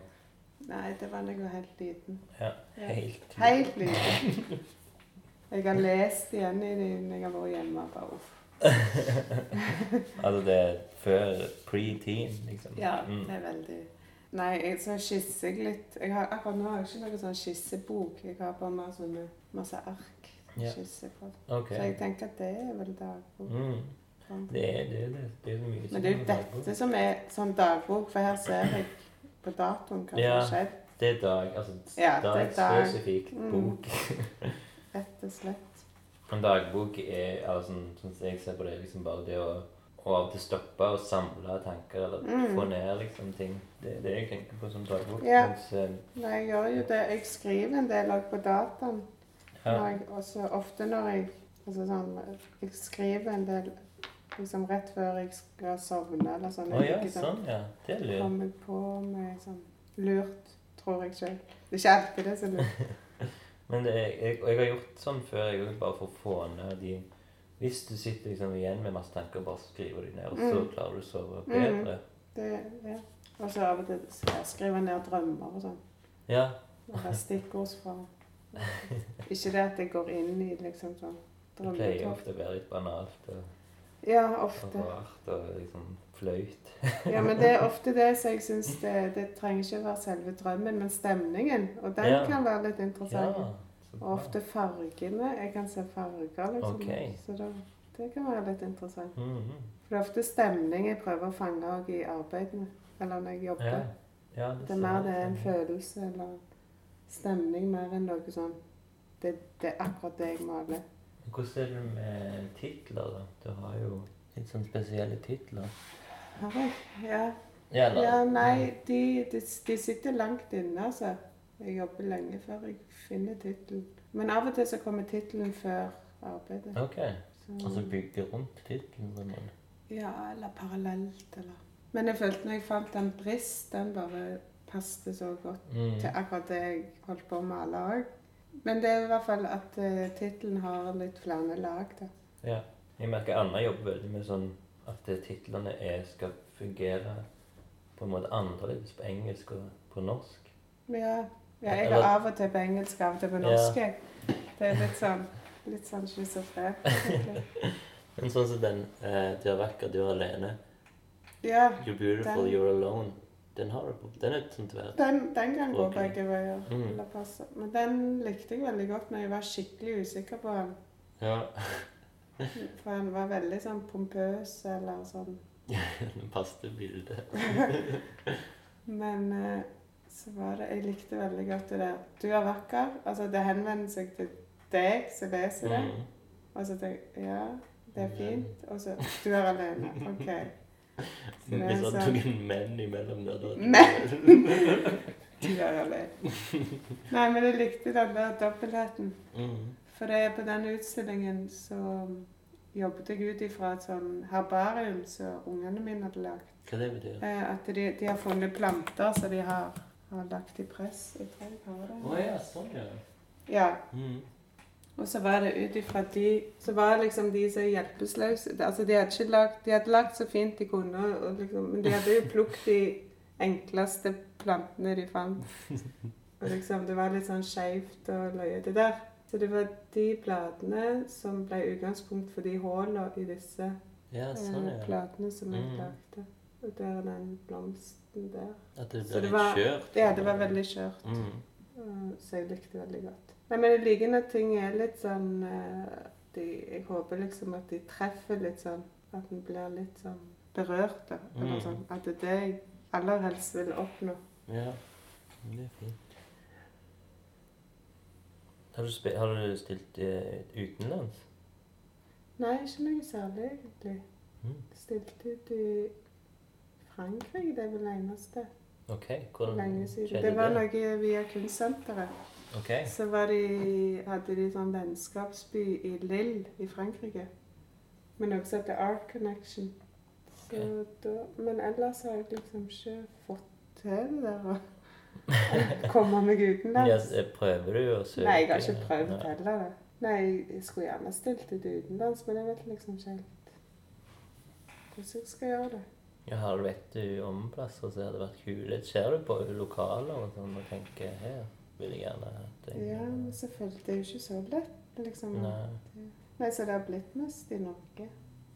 Speaker 2: Nei, det var da jeg var helt liten.
Speaker 1: Ja,
Speaker 2: Ja.
Speaker 1: helt.
Speaker 2: Helt liten. Jeg har lest igjen i det når jeg har vært hjemme. og Bare, uff.
Speaker 1: Altså det er før pre-teen, liksom.
Speaker 2: Ja,
Speaker 1: Mm.
Speaker 2: det er veldig Nei, jeg, så skisser jeg litt. Jeg har, akkurat nå har jeg ikke noen sånn skissebok. Jeg har bare mer sånne, masse ark.
Speaker 1: Ja.
Speaker 2: Skisser på.
Speaker 1: Ok.
Speaker 2: Så jeg tenker at det er vel dagbok.
Speaker 1: Mm.
Speaker 2: sant?
Speaker 1: Det, er- det, er det, det er så mye
Speaker 2: Men
Speaker 1: som
Speaker 2: det er jo
Speaker 1: er dagbok.
Speaker 2: dette som er sånn dagbok, for her ser jeg på datoen hva som
Speaker 1: Ja.
Speaker 2: har skjedd.
Speaker 1: Det er dag, altså
Speaker 2: Ja, det er
Speaker 1: dag,
Speaker 2: dag.
Speaker 1: spesifikk
Speaker 2: Mm.
Speaker 1: bok.
Speaker 2: Rett og slett.
Speaker 1: En dagbok er, eller sånn, sånn som jeg ser på det, liksom bare det å, å av og til stoppe og samle tanker, eller
Speaker 2: Mm.
Speaker 1: få ned liksom ting. Det er det jeg tenker på som dagbok.
Speaker 2: Ja.
Speaker 1: Mens, eh,
Speaker 2: Nei, jeg gjør jo det. Jeg skriver en del også på dataen. Når
Speaker 1: ja.
Speaker 2: jeg, også ofte når jeg altså sånn, Jeg skriver en del liksom rett før jeg skal sovne eller sånn.
Speaker 1: Å ja,
Speaker 2: ikke
Speaker 1: sånn ja. Det er lurt.
Speaker 2: Kommer på med sånn lurt, tror jeg sjøl. Det er ikke alltid det er så lurt.
Speaker 1: Men det er, jeg, og jeg har gjort sånn før, jeg også, bare for å få ned de Hvis du sitter liksom igjen med masse tanker, bare skriver de ned, og så
Speaker 2: Mm.
Speaker 1: klarer du å sove
Speaker 2: Mm.
Speaker 1: bedre.
Speaker 2: Det, ja. Og så av og til s- jeg skriver jeg ned drømmer og sånn.
Speaker 1: Ja.
Speaker 2: Eller stikkordsform. Ikke det at jeg går inn i liksom sånn
Speaker 1: Det pleier
Speaker 2: drømmetog.
Speaker 1: ofte å være litt banalt og
Speaker 2: Ja,
Speaker 1: og
Speaker 2: ofte.
Speaker 1: rart og liksom flaut.
Speaker 2: Ja, men det er ofte det så jeg syns det, det trenger ikke være selve drømmen, men stemningen. Og den
Speaker 1: Ja.
Speaker 2: kan være litt
Speaker 1: Ja.
Speaker 2: interessant.
Speaker 1: så
Speaker 2: Og
Speaker 1: bra.
Speaker 2: ofte fargene. Jeg kan se farger, liksom.
Speaker 1: Ok.
Speaker 2: Så da, det kan være litt interessant.
Speaker 1: Mhm.
Speaker 2: For det er ofte stemning jeg prøver å fange òg i arbeidene. Eller når jeg jobber.
Speaker 1: Ja. Ja,
Speaker 2: Det er mer det er en
Speaker 1: sant.
Speaker 2: følelse eller stemning mer enn noe sånn det, det er akkurat det jeg maler.
Speaker 1: Hvordan er det med titler, da? Du har jo litt sånn spesielle titler.
Speaker 2: Har jeg? Ja.
Speaker 1: Ja, eller-
Speaker 2: ja nei, de, de, de sitter langt inne, altså. Jeg jobber lenge før jeg finner tittelen. Men av og til så kommer tittelen før arbeidet.
Speaker 1: Ok. Og
Speaker 2: Så,
Speaker 1: så bygge rundt tittelen. på en måte.
Speaker 2: ja, eller parallelt, eller Men jeg følte når jeg fant den brist, den bare passet så godt.
Speaker 1: Mhm.
Speaker 2: til akkurat det jeg holdt på å male òg. Men det er i hvert fall at uh, tittelen har litt flere lag. da.
Speaker 1: Ja. Jeg merker Anna jobber veldig med sånn at eh, titlene er, skal fungere på en måte annerledes på engelsk og på norsk.
Speaker 2: Men ja, ja, jeg har av og til på engelsk, av og til på norsk. jeg. Det er litt sånn litt sånn schizofren. egentlig.
Speaker 1: Men sånn som den eh, 'Du er vakker, du er alene',
Speaker 2: Ja,
Speaker 1: 'You're beautiful,
Speaker 2: Den-
Speaker 1: you're alone', den har du på Den er sånn tverr.
Speaker 2: den, den kan gå
Speaker 1: Ok.
Speaker 2: begge veier.
Speaker 1: Mm.
Speaker 2: eller passe. Men den likte jeg veldig godt, men jeg var skikkelig usikker på den.
Speaker 1: Ja.
Speaker 2: For han var veldig sånn pompøs eller sånn.
Speaker 1: Den passer bildet.
Speaker 2: Men eh, så var det Jeg likte veldig godt det der. Du er vakker. Altså, det henvender seg til deg som leser det.
Speaker 1: Mm.
Speaker 2: Og så tenkte jeg ja, det er fint. Og så du er alene. OK. Så Mm.
Speaker 1: Hvis
Speaker 2: det er
Speaker 1: han
Speaker 2: sånn,
Speaker 1: tok en menn imellom der, da
Speaker 2: Men! du er alene. Nei, men jeg likte den der dobbeltheten.
Speaker 1: Mm.
Speaker 2: For det er på den utstillingen så jobbet jeg ut ifra et sånn herbarium som ungene mine hadde lagd.
Speaker 1: Hva det betyr det?
Speaker 2: Eh, At de, de har funnet planter som de har, har lagt i press. Jeg tror jeg har det.
Speaker 1: Å ja, sånn, ja.
Speaker 2: Ja,
Speaker 1: Mm.
Speaker 2: Og så var det ut ifra de Så var det liksom de som er hjelpeløse. Det- Altså, de hadde ikke lagt, de hadde lagt så fint de kunne, og liksom, men de hadde jo plukket de enkleste plantene de fant. Og liksom, det var litt sånn skeivt og løyete der. Så det var de bladene som ble utgangspunkt for de hullene i disse
Speaker 1: Ja, sånn,
Speaker 2: eh,
Speaker 1: ja.
Speaker 2: platene som jeg
Speaker 1: Mm.
Speaker 2: lagde. Og der er den blomsten der.
Speaker 1: At det
Speaker 2: Så
Speaker 1: blir
Speaker 2: det
Speaker 1: litt
Speaker 2: var-
Speaker 1: skjørt.
Speaker 2: Ja, det var veldig skjørt.
Speaker 1: mm.
Speaker 2: Eh, Så jeg likte veldig godt. Nei, men jeg liker når ting er litt sånn eh, de, Jeg håper liksom at de treffer litt sånn. At en blir litt sånn berørt, da. Eller
Speaker 1: Mm.
Speaker 2: sånn. At det er det jeg aller helst vil oppnå.
Speaker 1: Ja, det er fint. Har du, spe- har du stilt eh, utenlands?
Speaker 2: Nei, ikke noe særlig, egentlig.
Speaker 1: Mm.
Speaker 2: Stilte ut i Frankrike, det er vel det eneste.
Speaker 1: Ok, hvordan
Speaker 2: Lenge siden.
Speaker 1: skjedde
Speaker 2: Det var noe via Kunstsenteret.
Speaker 1: Ok,
Speaker 2: Så var de, hadde de sånn vennskapsby i Lille i Frankrike. Men også heter Art Connection. Så da, men ellers har jeg liksom ikke fått til det der å komme meg
Speaker 1: ja,
Speaker 2: utenlands.
Speaker 1: s- eh, prøver du å søke?
Speaker 2: Nei, jeg har ikke prøvd
Speaker 1: Nei.
Speaker 2: heller. da. Nei, jeg skulle gjerne stilt ut utenlands, men jeg vet liksom ikke helt hvordan jeg skal gjøre det.
Speaker 1: Ja, har du vet du om plasser som hadde vært kule? Ser du på lokaler og sånn og tenker, her vil jeg gjerne at jeg...
Speaker 2: Ja, men selvfølgelig, det er jo ikke så lett. Liksom.
Speaker 1: Nei.
Speaker 2: Nei, så det har blitt mest i Norge.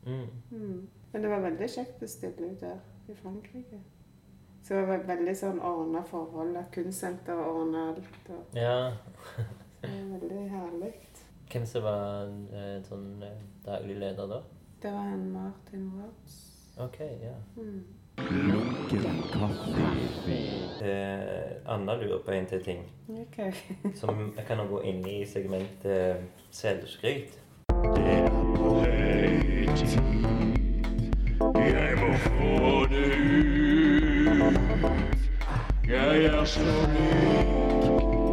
Speaker 1: Mm.
Speaker 2: Mm. Men det var veldig kjekt å stille ut der i Frankrike. Så det var veldig sånn ordna forhold. at Kunstsenter ordna alt. Og
Speaker 1: Ja.
Speaker 2: det var veldig herlig.
Speaker 1: Hvem som var eh, sånn eh, daglig leder da?
Speaker 2: Det var en Martin Watts.
Speaker 1: Ok, ja.
Speaker 2: Mm.
Speaker 1: Eh, Anna lurer på en til ting
Speaker 2: Ok.
Speaker 1: som jeg kan gå inn i segmentet eh, selvskryt.
Speaker 3: Jeg må få det ut. Jeg er så lik,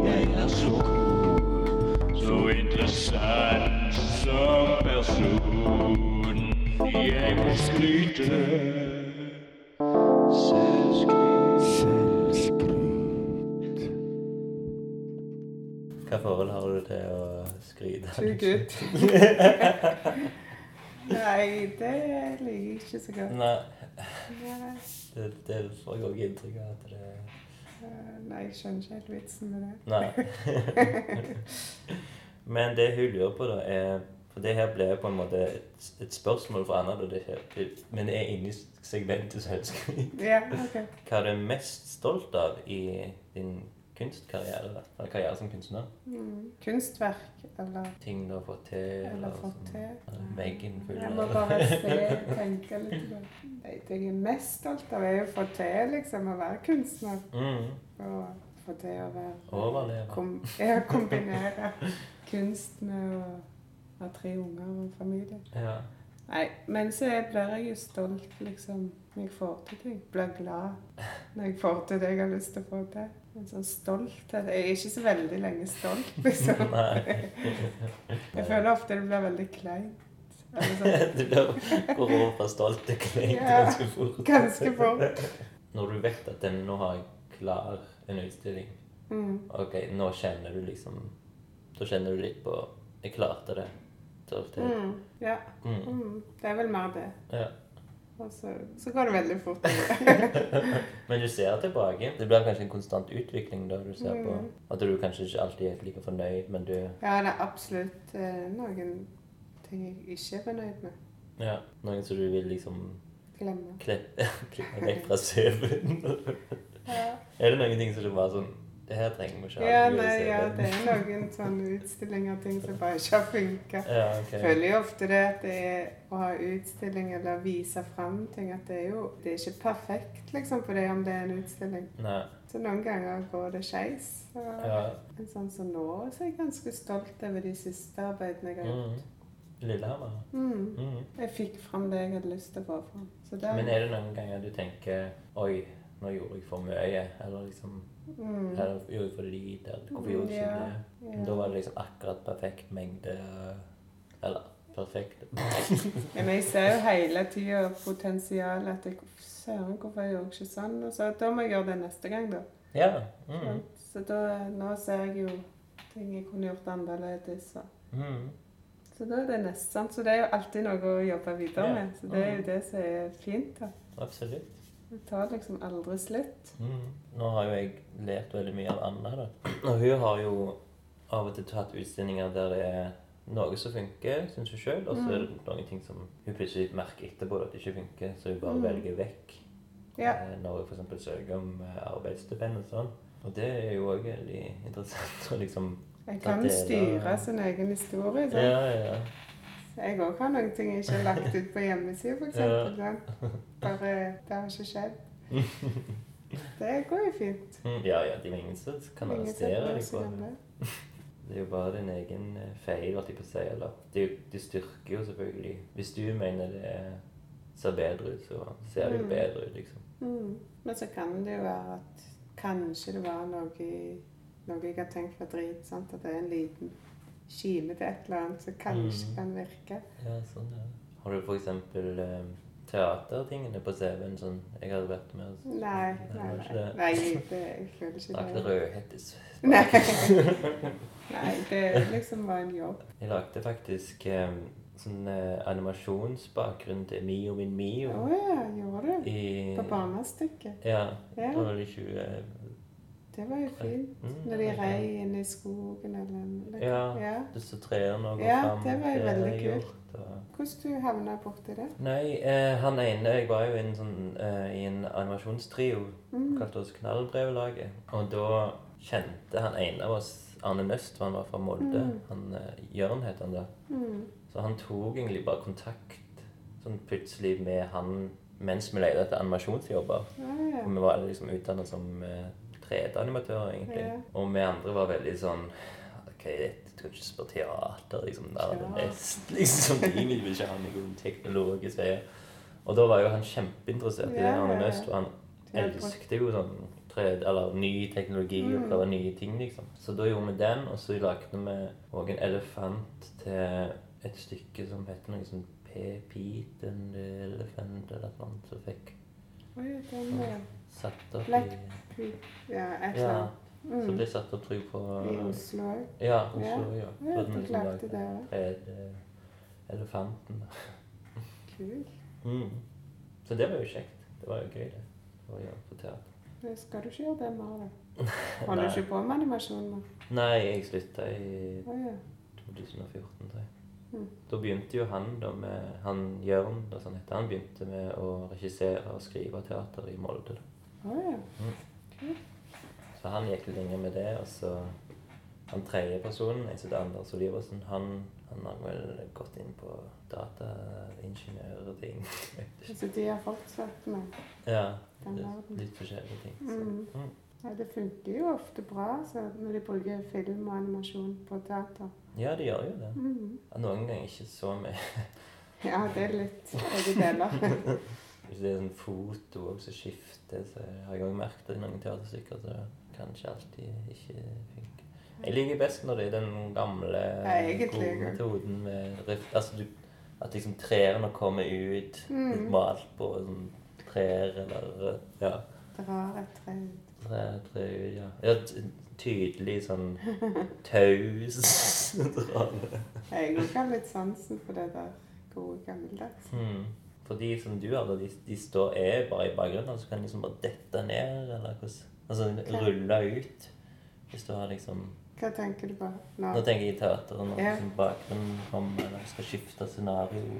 Speaker 3: jeg er så cool, så interessant som person. Jeg må skryte.
Speaker 1: Hva forhold har du til å skryte?
Speaker 2: Sjuk ut. Nei, det liker jeg ikke så godt.
Speaker 1: Nei,
Speaker 2: Nei,
Speaker 1: det, det får jeg også inntrykk av at det
Speaker 2: eh, Nei, jeg skjønner ikke helt vitsen med det.
Speaker 1: Nei. Men det hun lurer på, da, er For det her ble på en måte et, et spørsmål fra Anna, da det her, men er inne i segmentet selvskryt.
Speaker 2: Ja, ok.
Speaker 1: Hva er du mest stolt av i din kunstkarriere? da? Eller karriere som kunstner?
Speaker 2: Mm. Kunstverk, eller
Speaker 1: Ting du har fått til?
Speaker 2: Eller fått
Speaker 1: som-
Speaker 2: til.
Speaker 1: sånn, eller Veggen full
Speaker 2: Jeg må bare se, tenke litt. på det. Nei, det jeg er mest stolt av, er jo å få til liksom, å være kunstner.
Speaker 1: Mm.
Speaker 2: Og få til å være
Speaker 1: Overleve.
Speaker 2: kom, ja, Kombinere kunst med å ha tre unger og en familie.
Speaker 1: Ja.
Speaker 2: Nei, men så er- blir jeg jo stolt, liksom, når jeg får til ting. Blir glad når jeg får til det jeg har lyst til å få til. En sånn stolthet. Jeg er ikke så veldig lenge stolt, liksom.
Speaker 1: Nei.
Speaker 2: Jeg føler ofte det blir veldig kleint. Eller sånn
Speaker 1: du blir- går over fra stolt til kleint
Speaker 2: Ja.
Speaker 1: ganske fort.
Speaker 2: Ganske fort.
Speaker 1: Når du vet at den, nå har jeg klar en utstilling
Speaker 2: Mm.
Speaker 1: Ok, nå kjenner du liksom Da kjenner du litt på Jeg klarte det. Stolthet.
Speaker 2: Mm. Ja.
Speaker 1: Mm.
Speaker 2: Mm. Det er vel mer det.
Speaker 1: Ja.
Speaker 2: Og så, så går det veldig fort.
Speaker 1: Men du ser tilbake. Det blir kanskje en konstant utvikling da du ser på
Speaker 2: Mm.
Speaker 1: At du kanskje ikke alltid er helt like fornøyd, men du
Speaker 2: Ja, det er absolutt eh, noen ting jeg ikke er fornøyd med.
Speaker 1: Ja. Noen som du vil liksom
Speaker 2: Glemme.
Speaker 1: klippe, klippe vekk fra CV-en.
Speaker 2: Ja.
Speaker 1: er det noen ting som du bare sånn Det her trenger vi ikke ha
Speaker 2: Ja,
Speaker 1: i
Speaker 2: nei, ja,
Speaker 1: CV-en."
Speaker 2: det er noen sånne utstillinger og ting som bare ikke har funka.
Speaker 1: Ja,
Speaker 2: Jeg
Speaker 1: ok.
Speaker 2: føler jo ofte det at det er å ha utstilling eller vise fram ting, at det er jo det er ikke perfekt liksom, for det om det er en utstilling.
Speaker 1: Nei.
Speaker 2: Så noen ganger går det skeis. og-
Speaker 1: Ja.
Speaker 2: Men Sånn som nå så er jeg ganske stolt over de siste arbeidene jeg har gjort.
Speaker 1: Mm. Lillehammer.
Speaker 2: Mm.
Speaker 1: Mm.
Speaker 2: Jeg fikk fram det jeg hadde lyst til å få fram. Så det,
Speaker 1: Men er det noen ganger du tenker Oi, nå gjorde jeg for mye. Eller liksom
Speaker 2: mm,
Speaker 1: Eller gjorde jeg for lite? eller Hvorfor gjorde jeg ikke
Speaker 2: Ja,
Speaker 1: det? Men Da
Speaker 2: ja.
Speaker 1: var det liksom akkurat perfekt mengde øh, Eller perfekt
Speaker 2: Ja, Men jeg ser jo hele tida potensialet at jeg Søren, hvorfor gjorde jeg ikke sånn? Og så da må jeg gjøre det neste gang, da.
Speaker 1: Ja. Mm.
Speaker 2: Så da, nå ser jeg jo ting jeg kunne gjort annerledes. og-
Speaker 1: Mm.
Speaker 2: Så da er det nesten sant. Så det er jo alltid noe å jobbe videre
Speaker 1: Ja. Mm.
Speaker 2: med. Så det er jo det som er fint. da.
Speaker 1: Absolutt.
Speaker 2: Det tar liksom aldri slutt.
Speaker 1: Mm. Nå har jo jeg lært veldig mye av Anna, da. Og hun har jo av og til tatt utstillinger der det er noe som funker, syns hun sjøl, og så er
Speaker 2: Mm.
Speaker 1: det noen ting som hun plutselig merker etterpå at det ikke funker, så hun bare velger vekk.
Speaker 2: Mm. Ja.
Speaker 1: Eh, Når hun f.eks. søker om eh, arbeidsstipend og sånn. Og det er jo òg veldig interessant å liksom
Speaker 2: En
Speaker 1: Ja,
Speaker 2: kan
Speaker 1: det er da-
Speaker 2: styre sin egen historie. sant?
Speaker 1: Ja, ja.
Speaker 2: Jeg òg har noen ting jeg ikke har lagt ut på hjemmesida, for eksempel, sant? Bare det har ikke skjedd. Det går jo fint.
Speaker 1: Mm, Ja, ja, de lengste kan
Speaker 2: Ingen
Speaker 1: arrestere
Speaker 2: setter
Speaker 1: deg
Speaker 2: oss i
Speaker 1: på det.
Speaker 2: gamle.
Speaker 1: Det er jo bare din egen eh, feil, at jeg på å si. Eller det, er jo- det styrker jo selvfølgelig Hvis du mener det ser bedre ut, så ser det jo
Speaker 2: Mm.
Speaker 1: bedre ut, liksom.
Speaker 2: Mm. Men så kan det jo være at kanskje det var noe, i- noe jeg har tenkt var drit. Sant? At det er en liten kime til et eller annet som kanskje
Speaker 1: Mm.
Speaker 2: kan virke.
Speaker 1: Ja, sånn, ja. Har du f.eks. Eh, teatertingene på CV-en sånn jeg hadde vært med og
Speaker 2: Nei, nei,
Speaker 1: var ikke
Speaker 2: nei.
Speaker 1: det.
Speaker 2: nei det, jeg føler ikke
Speaker 1: Lagde
Speaker 2: det.
Speaker 1: rødhettes.
Speaker 2: Nei. Nei, det liksom var en jobb.
Speaker 1: Jeg lagde faktisk eh, sånn eh, animasjonsbakgrunn til Mio min
Speaker 2: Å
Speaker 1: Mio
Speaker 2: ja, gjorde du?
Speaker 1: i
Speaker 2: På barnestykket?
Speaker 1: Ja.
Speaker 2: Ja.
Speaker 1: Da var det 20
Speaker 2: Det var jo fint.
Speaker 1: eh,
Speaker 2: Når
Speaker 1: mm,
Speaker 2: de rei inn i skogen eller noe.
Speaker 1: Ja.
Speaker 2: ja.
Speaker 1: Disse trærne og gå
Speaker 2: Ja,
Speaker 1: fram.
Speaker 2: det var jo veldig
Speaker 1: er
Speaker 2: kult.
Speaker 1: gjort, og-
Speaker 2: Hvordan du havna borti det?
Speaker 1: Nei, eh, han ene Jeg var jo i en sånn, eh, i en animasjonstrio.
Speaker 2: Mm.
Speaker 1: Kalte oss Knallbrevlaget. Og da kjente han ene av oss Arne Nøst, for han var fra Molde.
Speaker 2: Mm.
Speaker 1: Han, eh, Jørn het han da. Så han tok egentlig bare kontakt sånn plutselig med han mens vi lette etter animasjonsjobber.
Speaker 2: Ja, ja.
Speaker 1: Og vi var alle liksom utdannet som eh, 3D-animatører, egentlig.
Speaker 2: Ja.
Speaker 1: Og vi andre var veldig sånn Ok, dette skal ikke spørre teater, liksom. Det er det
Speaker 2: Ja.
Speaker 1: mest liksom, de egentlig vil ikke ha noen teknologisk veier. Og da var jo han kjempeinteressert i det.
Speaker 2: Ja,
Speaker 1: Arne
Speaker 2: ja, ja.
Speaker 1: Nøst, og han
Speaker 2: Ja, bra.
Speaker 1: elsket jo sånn 3D, eller ny teknologi
Speaker 2: Mm.
Speaker 1: og prøve nye ting, liksom. Så da gjorde vi den, og så lagde vi òg en elefant til et stykke som heter noe sånn P-Pete and the Elephant eller noe annet, som fikk
Speaker 2: Oi, den er
Speaker 1: satt opp
Speaker 2: Black
Speaker 1: i
Speaker 2: Creek. Ja, et eller
Speaker 1: ja.
Speaker 2: annet. Mm.
Speaker 1: Så ble satt opp trykk på eh,
Speaker 2: I Oslo òg.
Speaker 1: Ja, Oslo, ja.
Speaker 2: Ja,
Speaker 1: Så hadde vi
Speaker 2: de
Speaker 1: liksom
Speaker 2: klarte
Speaker 1: laget
Speaker 2: det, ja.
Speaker 1: tredje elefanten.
Speaker 2: Kult.
Speaker 1: Mm. Så det var jo kjekt. Det var jo gøy, det. Å gjøre på teater.
Speaker 2: Nå Skal du ikke gjøre det mer, da? Holder du
Speaker 1: Nei.
Speaker 2: ikke på med animasjon nå?
Speaker 1: Nei, jeg slutta i
Speaker 2: Å ja.
Speaker 1: 2014, tror jeg.
Speaker 2: Mm.
Speaker 1: Da begynte jo han da med Han Jørn, da som han heter, han begynte med å regissere og skrive teater i Molde. da.
Speaker 2: Å ja.
Speaker 1: Så han gikk lenge med det, og så han tredje personen, jeg heter Anders Oliversen, han, han har vel gått inn på dataingeniør og ting.
Speaker 2: Så Altså, de har fortsatt med
Speaker 1: ja,
Speaker 2: den
Speaker 1: litt,
Speaker 2: verden.
Speaker 1: litt forskjellige ting.
Speaker 2: Mm.
Speaker 1: Så, mm.
Speaker 2: Ja, det funker jo ofte bra så når de bruker film og animasjon på teater.
Speaker 1: Ja, det gjør jo det.
Speaker 2: Mm.
Speaker 1: Noen ganger ikke så mye.
Speaker 2: Ja, det er litt begge deler.
Speaker 1: Hvis det er sånn foto og så skifter, så har jeg også merket det i noen teaterstykker, så kanskje alltid ikke funker. Jeg liker best når det er den gamle,
Speaker 2: egentlig,
Speaker 1: gode
Speaker 2: ja.
Speaker 1: metoden med rift. Altså, du, at liksom trærne kommer ut,
Speaker 2: Mm.
Speaker 1: litt malt på sånn trær eller Ja,
Speaker 2: Drar et tre ut.
Speaker 1: tre, tre ut, ja. ja t- tydelig sånn taus drame.
Speaker 2: Jeg òg har litt sansen for det der gode gammeldags.
Speaker 1: Mm. For de som du har, da, de, de står er bare i bakgrunnen, og så kan de liksom bare dette ned, eller hvordan Altså rulle ut. Hvis du har liksom
Speaker 2: Hva tenker du på nå?
Speaker 1: Nå tenker jeg i teater, når
Speaker 2: Ja.
Speaker 1: liksom bakgrunnen kommer, eller skal skifte scenario. eh,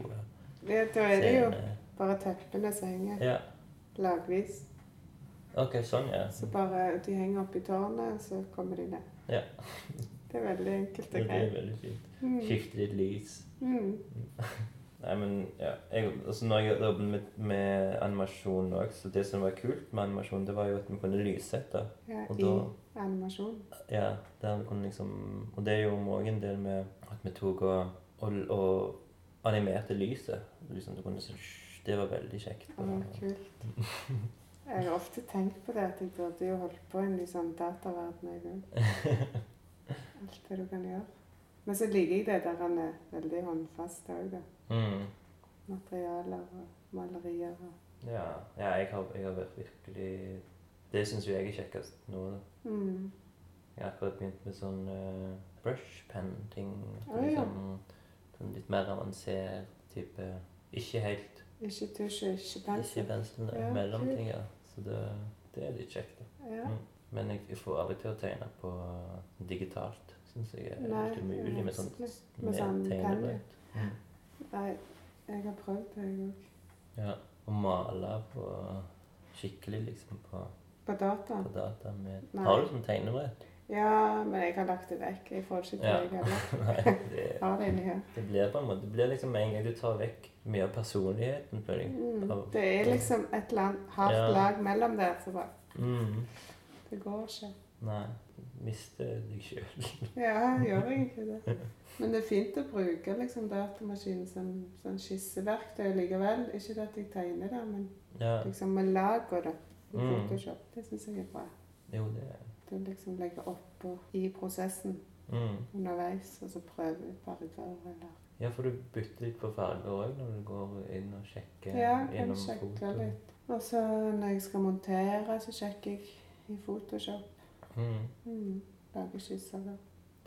Speaker 2: Ja, da er det jo
Speaker 1: scene.
Speaker 2: bare teppene som henger
Speaker 1: Ja.
Speaker 2: lagvis.
Speaker 1: Ok, sånn, ja.
Speaker 2: Så bare de henger opp i tårnet, så kommer de ned.
Speaker 1: Ja.
Speaker 2: Det er veldig enkelt
Speaker 1: Det
Speaker 2: og
Speaker 1: blir
Speaker 2: greit.
Speaker 1: veldig fint.
Speaker 2: Mm.
Speaker 1: Skifte litt lys.
Speaker 2: Mm.
Speaker 1: Nei, men ja. Jeg, altså, når jeg jobbet med, med animasjon òg, så det som var kult med animasjon, det var jo at vi kunne lyssette.
Speaker 2: Ja,
Speaker 1: Og
Speaker 2: I
Speaker 1: da-
Speaker 2: animasjon.
Speaker 1: Ja, der vi kunne liksom Og det gjorde vi òg en del med at vi tok og, og, og animerte lyset. Liksom, du kunne sånn «Sj», Det var veldig kjekt.
Speaker 2: Det var kult. Jeg har ofte tenkt på det at jeg burde jo holdt på i en sånn dataverden jeg òg. Alt det du kan gjøre. Men så liker jeg det der han er veldig håndfast òg, da.
Speaker 1: Mm.
Speaker 2: Materialer og malerier og
Speaker 1: Ja, ja jeg, har, jeg har vært virkelig Det syns jo jeg er kjekkest nå. da.
Speaker 2: mm.
Speaker 1: Jeg har akkurat begynt med sånn eh, brush pen-ting.
Speaker 2: Å, ja.
Speaker 1: liksom, sånn litt mer avansert type Ikke helt
Speaker 2: Ikke tusj og ikke
Speaker 1: ikke
Speaker 2: pensel.
Speaker 1: pensel,
Speaker 2: Ja,
Speaker 1: ja, mellomting. Ja. Så det, det er litt kjekt. da.
Speaker 2: Ja.
Speaker 1: Men jeg, jeg får aldri til å tegne på digitalt. Syns jeg er
Speaker 2: Nei,
Speaker 1: helt umulig med sånn
Speaker 2: vanskelig. Med sånn
Speaker 1: med
Speaker 2: penn, ja.
Speaker 1: tegnebrett. Mm.
Speaker 2: Nei, jeg har prøvd det, jeg òg.
Speaker 1: Ja. Å male på skikkelig, liksom, på,
Speaker 2: På data.
Speaker 1: på data med
Speaker 2: Nei.
Speaker 1: Har du sånn tegnebrett?
Speaker 2: Ja, men jeg har lagt det vekk. Jeg får ikke til
Speaker 1: Ja.
Speaker 2: jeg heller.
Speaker 1: Nei, det
Speaker 2: Jeg Har det inni her.
Speaker 1: Det blir på en måte, det blir liksom med en gang du tar vekk mye av personligheten, føler jeg.
Speaker 2: Mm.
Speaker 1: Av-
Speaker 2: Det er liksom et eller annet hardt
Speaker 1: Ja.
Speaker 2: lag mellom der. Så bare
Speaker 1: Mm.
Speaker 2: Det går ikke.
Speaker 1: Nei. Mister deg sjøl.
Speaker 2: Ja, jeg gjør egentlig det. Men det er fint å bruke liksom, datamaskinen som, som skisseverktøy likevel. Ikke det at jeg tegner det, men
Speaker 1: ja.
Speaker 2: liksom med laga det. I
Speaker 1: Mm.
Speaker 2: Photoshop. Det syns jeg er bra.
Speaker 1: Jo, det er
Speaker 2: Du liksom legger oppå i prosessen
Speaker 1: mm.
Speaker 2: underveis, og så prøver ut farger eller
Speaker 1: Ja, for du bytter litt på farger òg når du går inn og sjekker
Speaker 2: Ja, kan
Speaker 1: gjennom
Speaker 2: sjekke
Speaker 1: fotoen.
Speaker 2: litt. Og så når jeg skal montere, så sjekker jeg i Photoshop.
Speaker 1: Mm.
Speaker 2: Mm. Lager skisser der.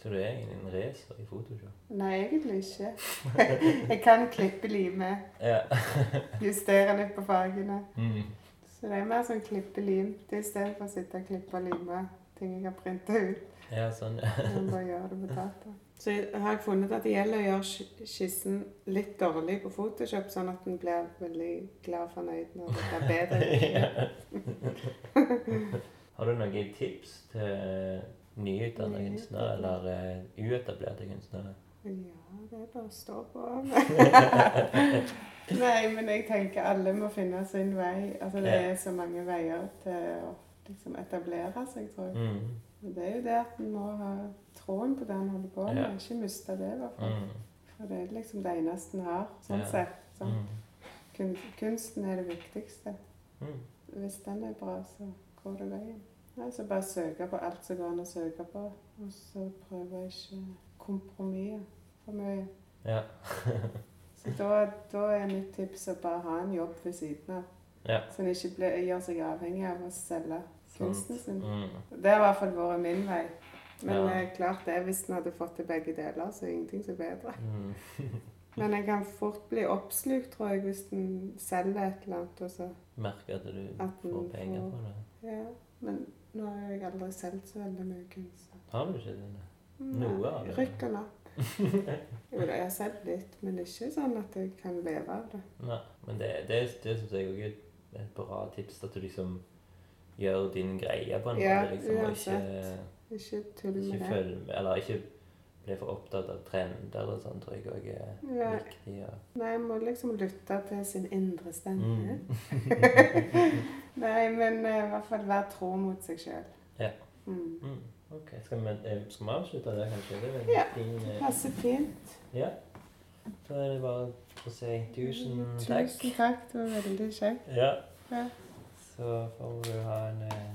Speaker 1: Så du er egentlig en racer i Photoshop?
Speaker 2: Nei, egentlig ikke. jeg kan klippe lime,
Speaker 1: Ja.
Speaker 2: justere litt på fargene.
Speaker 1: mm.
Speaker 2: Så det er mer sånn klippe lim. Det er i stedet for å sitte og klippe og lime ting jeg kan printe ut.
Speaker 1: Ja, sånn.
Speaker 2: Man bare gjør det på data. Så jeg- har jeg funnet at det gjelder å gjøre sk- skissen litt dårlig på Photoshop, sånn at en blir veldig glad og fornøyd når det blir bedre.
Speaker 1: Har du noen tips til nyutdannede kunstnere eller eh, uetablerte kunstnere?
Speaker 2: Ja, det er bare å stå på. Nei, men jeg tenker alle må finne sin vei. Altså det
Speaker 1: Ja.
Speaker 2: er så mange veier til å liksom etablere seg, tror jeg.
Speaker 1: Mm.
Speaker 2: Og det er jo det at en må ha troen på det en holder på
Speaker 1: Ja.
Speaker 2: med. Ikke miste det, i hvert fall.
Speaker 1: Mm.
Speaker 2: For det er liksom det eneste en har, sånn
Speaker 1: Ja.
Speaker 2: sett. Sånn.
Speaker 1: Mm.
Speaker 2: Kun, kunsten er det viktigste.
Speaker 1: Mm.
Speaker 2: Hvis den er bra, så går det veien. Nei, så bare søke på alt som går an å søke på. Og så prøve å ikke kompromisse for mye.
Speaker 1: Ja.
Speaker 2: Så da, da er mitt tips å bare ha en jobb ved siden av.
Speaker 1: Ja.
Speaker 2: Så en ikke blir- gjør seg avhengig av å selge kunsten sin.
Speaker 1: Mm.
Speaker 2: Det har i hvert fall vært min vei. Men
Speaker 1: Ja.
Speaker 2: eh, klart det, hvis en hadde fått til begge deler, så er ingenting så bedre.
Speaker 1: Mm.
Speaker 2: Men en kan fort bli oppslukt, tror jeg, hvis en selger et eller annet. og så...
Speaker 1: Merker at du
Speaker 2: At du
Speaker 1: får penger
Speaker 2: får-
Speaker 1: på det.
Speaker 2: Ja, men nå har jeg aldri solgt så veldig mye kunst. så-
Speaker 1: Har du ikke det?
Speaker 2: Nei,
Speaker 1: Noe av det.
Speaker 2: Rykk og napp. Jo da, jeg har solgt litt, men ikke sånn at jeg kan leve av det.
Speaker 1: Nei. Men det, det, det syns jeg òg er et- et bra tips, at du liksom gjør din greie på en
Speaker 2: Ja,
Speaker 1: måte. liksom, og ikke,
Speaker 2: uansett. Ikke tull med
Speaker 1: ikke
Speaker 2: det.
Speaker 1: følg med, eller ikke bli for opptatt av trender og sånn, tror jeg òg er
Speaker 2: Ja.
Speaker 1: viktig. Ja.
Speaker 2: Nei, jeg må liksom lytte til sin indre stemme.
Speaker 1: Mm.
Speaker 2: Nei, men eh, i hvert fall være tro mot seg sjøl.
Speaker 1: Ja.
Speaker 2: Mm.
Speaker 1: Mm. Ok, skal vi, eh, skal vi avslutte der, kanskje? Det er en
Speaker 2: Ja.
Speaker 1: fin
Speaker 2: Det
Speaker 1: eh,
Speaker 2: passer fint.
Speaker 1: Ja. Da er det bare å si tusen takk.
Speaker 2: Mm, Tusen takk, det var veldig kjekt.
Speaker 1: Ja.
Speaker 2: Ja.
Speaker 1: Så får du ha en eh,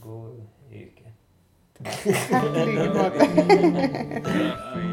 Speaker 1: god uke.
Speaker 2: Takk i like måte.
Speaker 3: Nothing